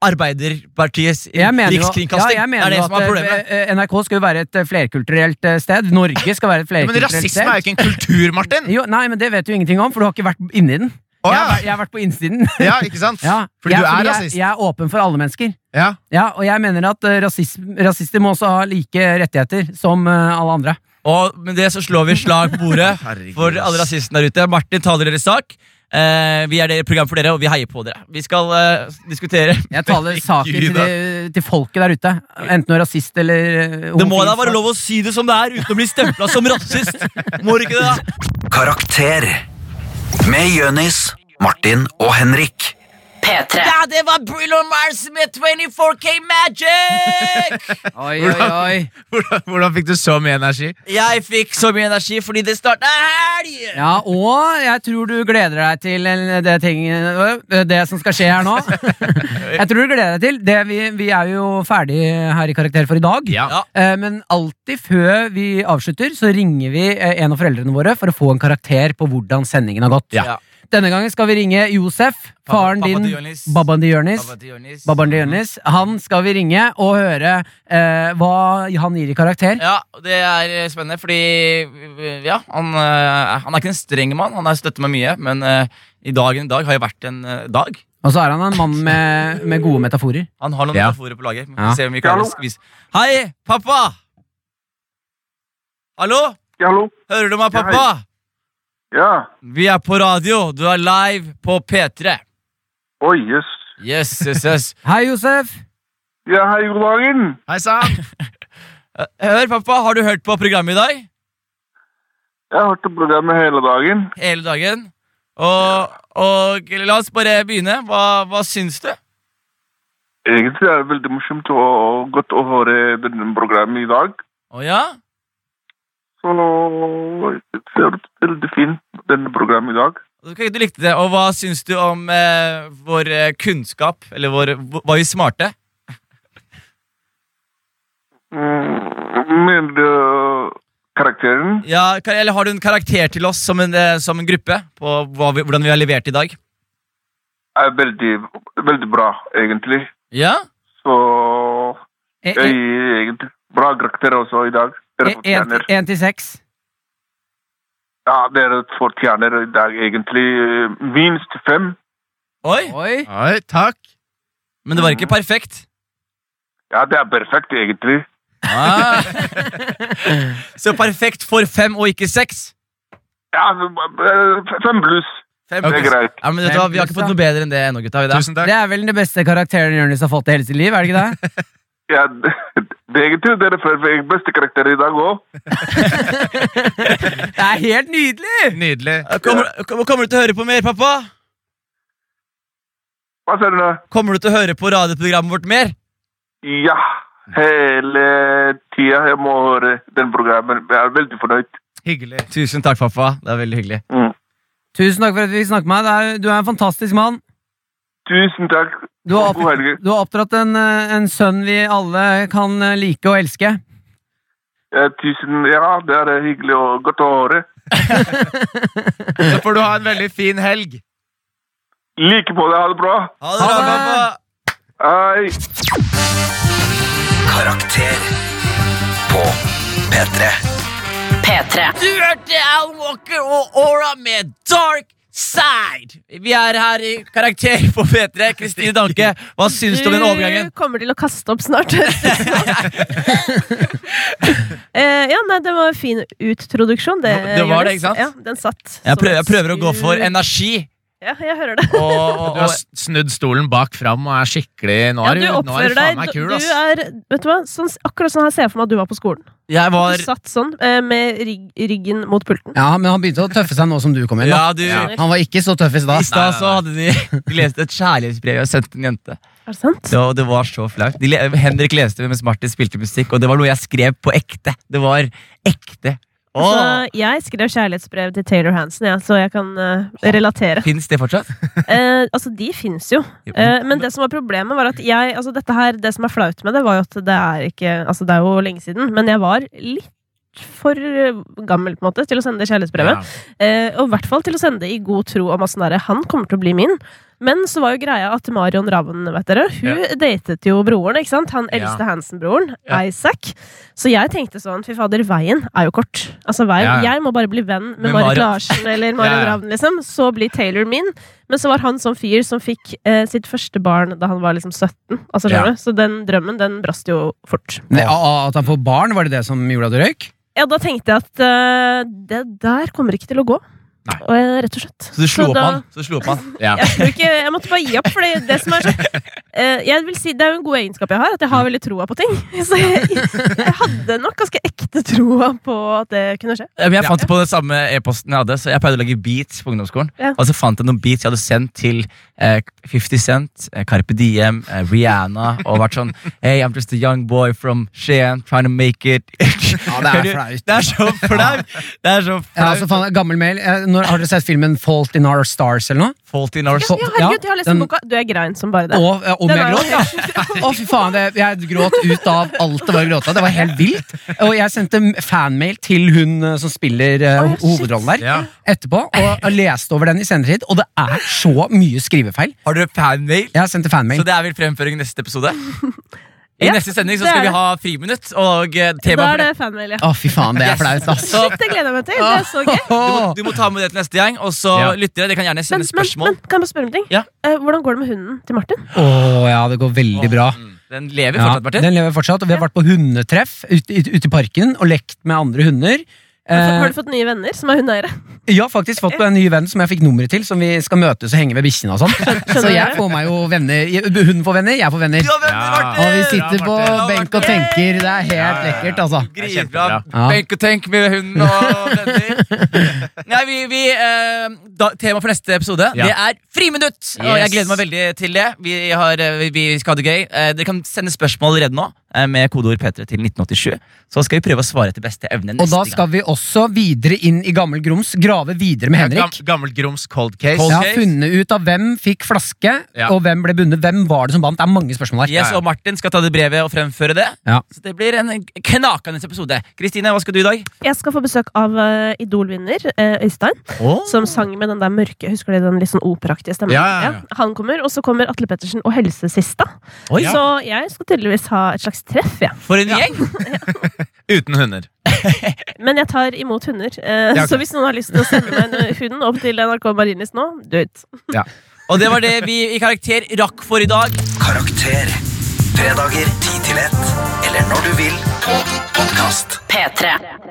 S2: Arbeiderpartiets
S4: Jeg mener jo, ja,
S2: rikskringkasting.
S4: jeg mener
S2: det er det
S4: jo
S2: som er
S4: at
S2: problemet.
S4: eh, eh, NRK skal jo være et eh, flerkulturelt eh, sted. Norge skal være et
S3: Men
S4: flerkulturelt sted.
S3: rasisme er jo ikke en kultur, Martin!
S4: Jo, nei, men det vet du ingenting om, for du har ikke vært inni den.
S3: Å,
S4: jeg,
S3: ja.
S4: har, vært- jeg har vært på innsiden.
S3: Ja, ikke sant?
S4: Ja,
S3: Fordi
S4: jeg,
S3: du er
S4: fordi
S3: rasist.
S4: Jeg, jeg er åpen for alle mennesker.
S3: Ja.
S4: og jeg mener at eh, rasism, rasister må også ha like rettigheter som eh, alle andre.
S2: Og med det så slår vi slag på bordet
S3: Herregud,
S2: for alle
S3: ass.
S2: rasistene der ute. Martin taler deres sak. Eh, vi er det program for dere, og vi heier på dere. Vi skal eh, diskutere
S4: Jeg taler saken til, de, til folket der ute. Enten du er rasist eller eh,
S2: Det må
S4: homofil,
S2: da
S4: så-
S2: være lov å si det som det er, uten å bli stempla som rasist. Må det ikke det, da?
S1: Karakter med Jønis, Martin og Henrik.
S21: P3.
S22: Ja, det var Brillo Mars med 24K Magic!
S4: Oi,
S3: Hvordan- Hvordan, hvordan fikk du så mye energi?
S22: Jeg fikk så mye energi fordi det starta helg!
S4: Ja, og jeg tror du gleder deg til en- det, ting, øh, det som skal skje her nå. Jeg tror du gleder deg til det vi, vi er jo ferdig her i Karakter for i dag.
S3: Ja.
S4: Eh, Men alltid før vi avslutter, så ringer vi eh, en av foreldrene våre for å få en karakter på hvordan sendingen har gått.
S3: Ja.
S4: Denne gangen skal vi ringe Josef, faren
S2: Pappa
S4: din,
S2: til Jonis. Mhm.
S4: babbaen til Jonis.
S2: Pappa til Jonis.
S4: Babbaen til Jonis. Han skal vi ringe og høre eh, hva han gir i karakter.
S2: Ja, det er eh, spennende, fordi ja, han, eh, han er ikke en streng mann. Han har støttet meg mye, men eh, i dagen i dag har jo vært en eh, dag.
S4: Og så er han en mann med, med gode metaforer.
S2: Han har noen
S4: Ja.
S2: metaforer på lager. Vi
S4: Ja.
S2: får se om vi klarer å
S4: Hallo?
S2: skvise. Hei, pappa! Hallo? Hører du meg,
S8: Ja,
S2: pappa?
S8: Ja.
S2: Vi er på radio. Du er live på P3.
S8: Oi, jøss.
S2: Yes, yes, yes.
S4: Hei, Josef!
S8: Ja, hei, god dagen.
S3: Hei sann!
S2: Eh, Hør, pappa, har du hørt på programmet i dag?
S8: Jeg har hørt på programmet hele dagen.
S2: Hele dagen. Og, og la oss bare begynne. Hva, hva syns du?
S8: Egentlig er det veldig morsomt og, og godt å høre denne programmet i dag.
S2: Å ja?
S8: Så det ser ut veldig fint, denne programmet i dag.
S2: Du, du likte det, og hva syns du om eh, vår eh, kunnskap? Eller vår, var vi smarte?
S8: Mm, men øh, karakteren
S2: Ja, ka- eller har du en karakter til oss som en, eh, som en gruppe? På hva vi, hvordan vi har levert i dag?
S8: er veldig, veldig bra, egentlig.
S2: Ja?
S8: Så
S4: Eh,
S8: jeg
S4: eh.
S8: gir egentlig bra karakter også i dag. Dere fortjener.
S4: Én til seks.
S8: Ja, dere fortjener i dag egentlig øh, minst fem.
S2: Oi!
S4: Oi.
S3: Oi, takk.
S2: Men det var ikke perfekt.
S8: Ja, det er perfekt, egentlig.
S2: Ah. Så perfekt for fem og ikke seks.
S8: Ja, øh, fem pluss.
S2: Fem
S8: Det er greit.
S2: Ja, men vet du hva, Vi har ikke fått noe bedre enn det ennå, gutta. har Vi da.
S3: Tusen
S4: Det er vel den beste karakteren Jonis har fått i hele sitt liv? er det ikke det?
S8: Ja, det, det er egentlig dere får får beste karakter i dag òg.
S4: Det er helt nydelig!
S3: Nydelig.
S2: Kommer, kom- kommer du til å høre på mer, pappa?
S8: Hva sa du nå?
S2: Kommer du til å høre på radioprogrammet vårt mer?
S8: Ja, hele tida jeg må høre den programmen. Jeg er veldig fornøyd.
S3: Hyggelig.
S2: Tusen takk, pappa. Det er veldig hyggelig.
S4: Tusen takk for at vi fikk snakke med deg. Det er- Du er en fantastisk mann.
S8: Tusen takk.
S23: Du har, opp, du har oppdratt en, eh, en sønn vi alle kan eh, like og elske.
S8: Ja, tusen, ja, det er hyggelig og godt å høre.
S3: Så får du ha en veldig fin helg.
S8: Like på deg, ha det bra.
S3: Ha det bra, pappa.
S8: Hei.
S1: Karakter på P3.
S17: P3.
S2: Du hørte Alan Walker og Aura med Dark Side. Vi er her i karakter på P3. Kristine Danke, hva syns du om den overgangen?
S13: Du kommer til å kaste opp snart. Eh, ja, nei, det var en fin utproduksjon. Det,
S2: Det var det,
S13: Jonas.
S2: ikke sant?
S13: Ja, den satt.
S2: Jeg prøver, jeg prøver å gå for energi.
S13: Ja, jeg hører det.
S3: Du har snudd stolen bak fram og er skikkelig Nå
S13: Ja,
S3: er
S13: du
S3: du, nå er
S13: oppfører
S3: du faen meg
S13: deg
S3: kul,
S13: du
S3: ass.
S13: er, Vet du hva, sånn, akkurat sånn her ser jeg for meg at du var på skolen.
S2: Jeg var-
S13: Du satt sånn, eh, med rygg, ryggen mot pulten.
S4: Ja, men han begynte å tøffe seg nå som du kom inn. da.
S2: Ja, du-
S4: Han var ikke så tøffis da.
S2: I stad så hadde de, de leste et kjærlighetsbrev jeg sendte en jente.
S13: Er det sant?
S2: Ja, og det var så flaut. De le- Henrik leste det mens Martin spilte musikk, og det var noe jeg skrev på ekte. Det var ekte.
S13: Så
S2: Åh,
S13: Altså, jeg skrev kjærlighetsbrev til Taylor Hansen, ja, så jeg kan eh, relatere.
S2: Fins det fortsatt?
S13: Eh, altså, de fins jo. Eh, men det som var problemet, var at jeg Altså, dette her, det som er flaut med det, var jo at det er ikke Altså, det er jo lenge siden, men jeg var litt for eh, gammel på en måte til å sende det kjærlighetsbrevet. Eh, og i hvert fall til å sende det i god tro om at sånn derre, han kommer til å bli min. Men så var jo greia at Marion Ravn vet dere, hun
S6: Ja.
S13: datet jo broren. ikke sant? Han
S6: Ja.
S13: eldste Hansen-broren, Isaac. Så jeg tenkte sånn Fy fader, veien er jo kort. Altså, veien,
S6: Ja, ja.
S13: Jeg må bare bli venn med
S6: Med
S13: Marit
S6: Marit.
S13: Larsen eller Marion
S6: Ja, ja.
S13: Ravn, liksom. Så blir Taylor min. Men så var han sånn fyr som fikk eh, sitt første barn da han var liksom 17. Altså, skjønner
S4: Ja.
S13: du? Så den drømmen, den brast jo fort.
S4: Men, a- a- at han får barn, var det det som gjorde at du røyk?
S13: Ja, da tenkte jeg at eh, det der kommer ikke til å gå. Og, eh, rett og slett.
S2: Så du slo opp
S13: da-
S2: han? Så du slo opp han.
S13: Jeg, tror ikke, jeg måtte bare gi opp, for det som er sånn eh, Jeg vil si Det er jo en god egenskap jeg har, at jeg
S2: Mm.
S13: har veldig troa på ting. Så jeg, jeg hadde nok ganske ekte troa på at det kunne skje.
S2: Ja, Men jeg fant det på den samme e-posten jeg hadde, så jeg pleide å lage beats på ungdomsskolen.
S13: Ja.
S2: Og så fant jeg noen beats jeg hadde sendt til eh, 50 Cent, eh, Carpe Diem, eh, Rihanna, og vært sånn Hey, I'm just a young boy from Skien, trying to make it. Ja,
S4: det er flaut.
S2: Det er så flaut! Det er så
S4: Ja,
S2: flaut.
S4: altså, faen, gammel mail. Eh, Når, har dere sett filmen Fault in Our Stars eller noe?
S2: Fault in Our
S13: Ja, herregud, jeg har lest den boka. Du er grein som bare det.
S4: Og, eh, om
S13: Den
S4: jeg
S13: er jo
S4: gråt,
S13: helt-
S4: Å, fy faen, det, jeg gråt ut av alt det var å gråte av. Det var helt vilt. Og jeg sendte fanmail til hun eh, som spiller eh, hovedrollen der, etterpå, og leste over den i senere tid, og det er så mye skrivefeil.
S2: Har dere fanmail?
S4: Jeg sendte fanmail.
S2: Så det er vel fremføring i neste episode? I
S4: Ja,
S2: neste sending så
S4: det
S2: skal
S4: er
S2: vi
S4: det.
S2: ha friminutt, og eh,
S13: Da
S2: temaet
S13: er
S2: for
S13: det fanmail, ja.
S4: Å, fy faen, det er flaut, ass.
S2: Ah, Så- Ah,
S13: Shit, det gleder jeg meg til. Det er så gøy.
S2: Du må, du må ta med det til neste gjeng, og så
S4: Ja.
S2: lyttere, dere kan gjerne
S13: Men,
S2: sende
S13: men,
S2: spørsmål.
S13: men kan jeg bare spørre om en ting? Eh, hvordan går det med hunden til Martin?
S4: Å ja, det går veldig bra.
S2: Den lever Mm. fortsatt, Martin.
S4: Den lever fortsatt, og vi har vært på hundetreff ute, ute, ute i parken og lekt med andre hunder.
S13: Har du- har
S4: Eh,
S13: du fått nye venner som er hundeeiere?
S4: ja, faktisk fått en ny venn som jeg fikk nummeret til, som vi skal møtes og henge ved bikkjene og sånn. Så jeg får meg jo venner. jeg- Hunden får venner, jeg får venner. Og vi sitter på benk og tenker. Det er helt lekkert, altså.
S2: Grisbra.
S4: Ja.
S2: Benk og tenk med hunden og venner. Nei, vi, vi, eh, da, Tema for neste episode
S24: Ja.
S2: Det er friminutt! Og
S24: Yes.
S2: jeg gleder meg veldig til det. Vi, har, eh, vi- vi skal ha det gøy. Eh, dere kan sende spørsmål allerede nå eh, med kodeord P3 til 1987. Så skal vi prøve å svare etter beste evne
S4: Og
S2: neste
S4: da skal vi også videre inn i Gammel Grums, grave videre med Henrik.
S3: Gam, gammelt grums cold case.
S4: Jeg har funnet ut av hvem fikk flaske,
S2: Ja.
S4: og hvem ble bundet. Hvem var det som vant? Det er mange spørsmål her.
S2: gang. Yes, og Martin skal ta det brevet og fremføre det.
S4: Ja.
S2: Så det blir en knakende episode. Kristine, hva skal du i dag?
S13: Jeg skal få besøk av eh, Idol-vinner eh, Øystein,
S2: Åh.
S13: som sang med den der mørke Husker dere den litt sånn operaktige stemmen?
S2: Ja, ja, ja.
S13: Han kommer, og så kommer Atle Pettersen og Helsesista.
S3: Oi.
S13: Så jeg skal tydeligvis ha et slags treff, jeg.
S2: For en gjeng!
S3: Uten hunder.
S13: Men jeg tar imot hunder. eh,
S3: Ja, ok.
S13: Så hvis noen har lyst til å sende meg en eh, hund opp til NRK Marienlyst nå, do it.
S2: Og det var det vi i Karakter rakk for i dag.
S1: Karakter. Fredager 10 til 1, eller når du vil på podkast.
S17: P3.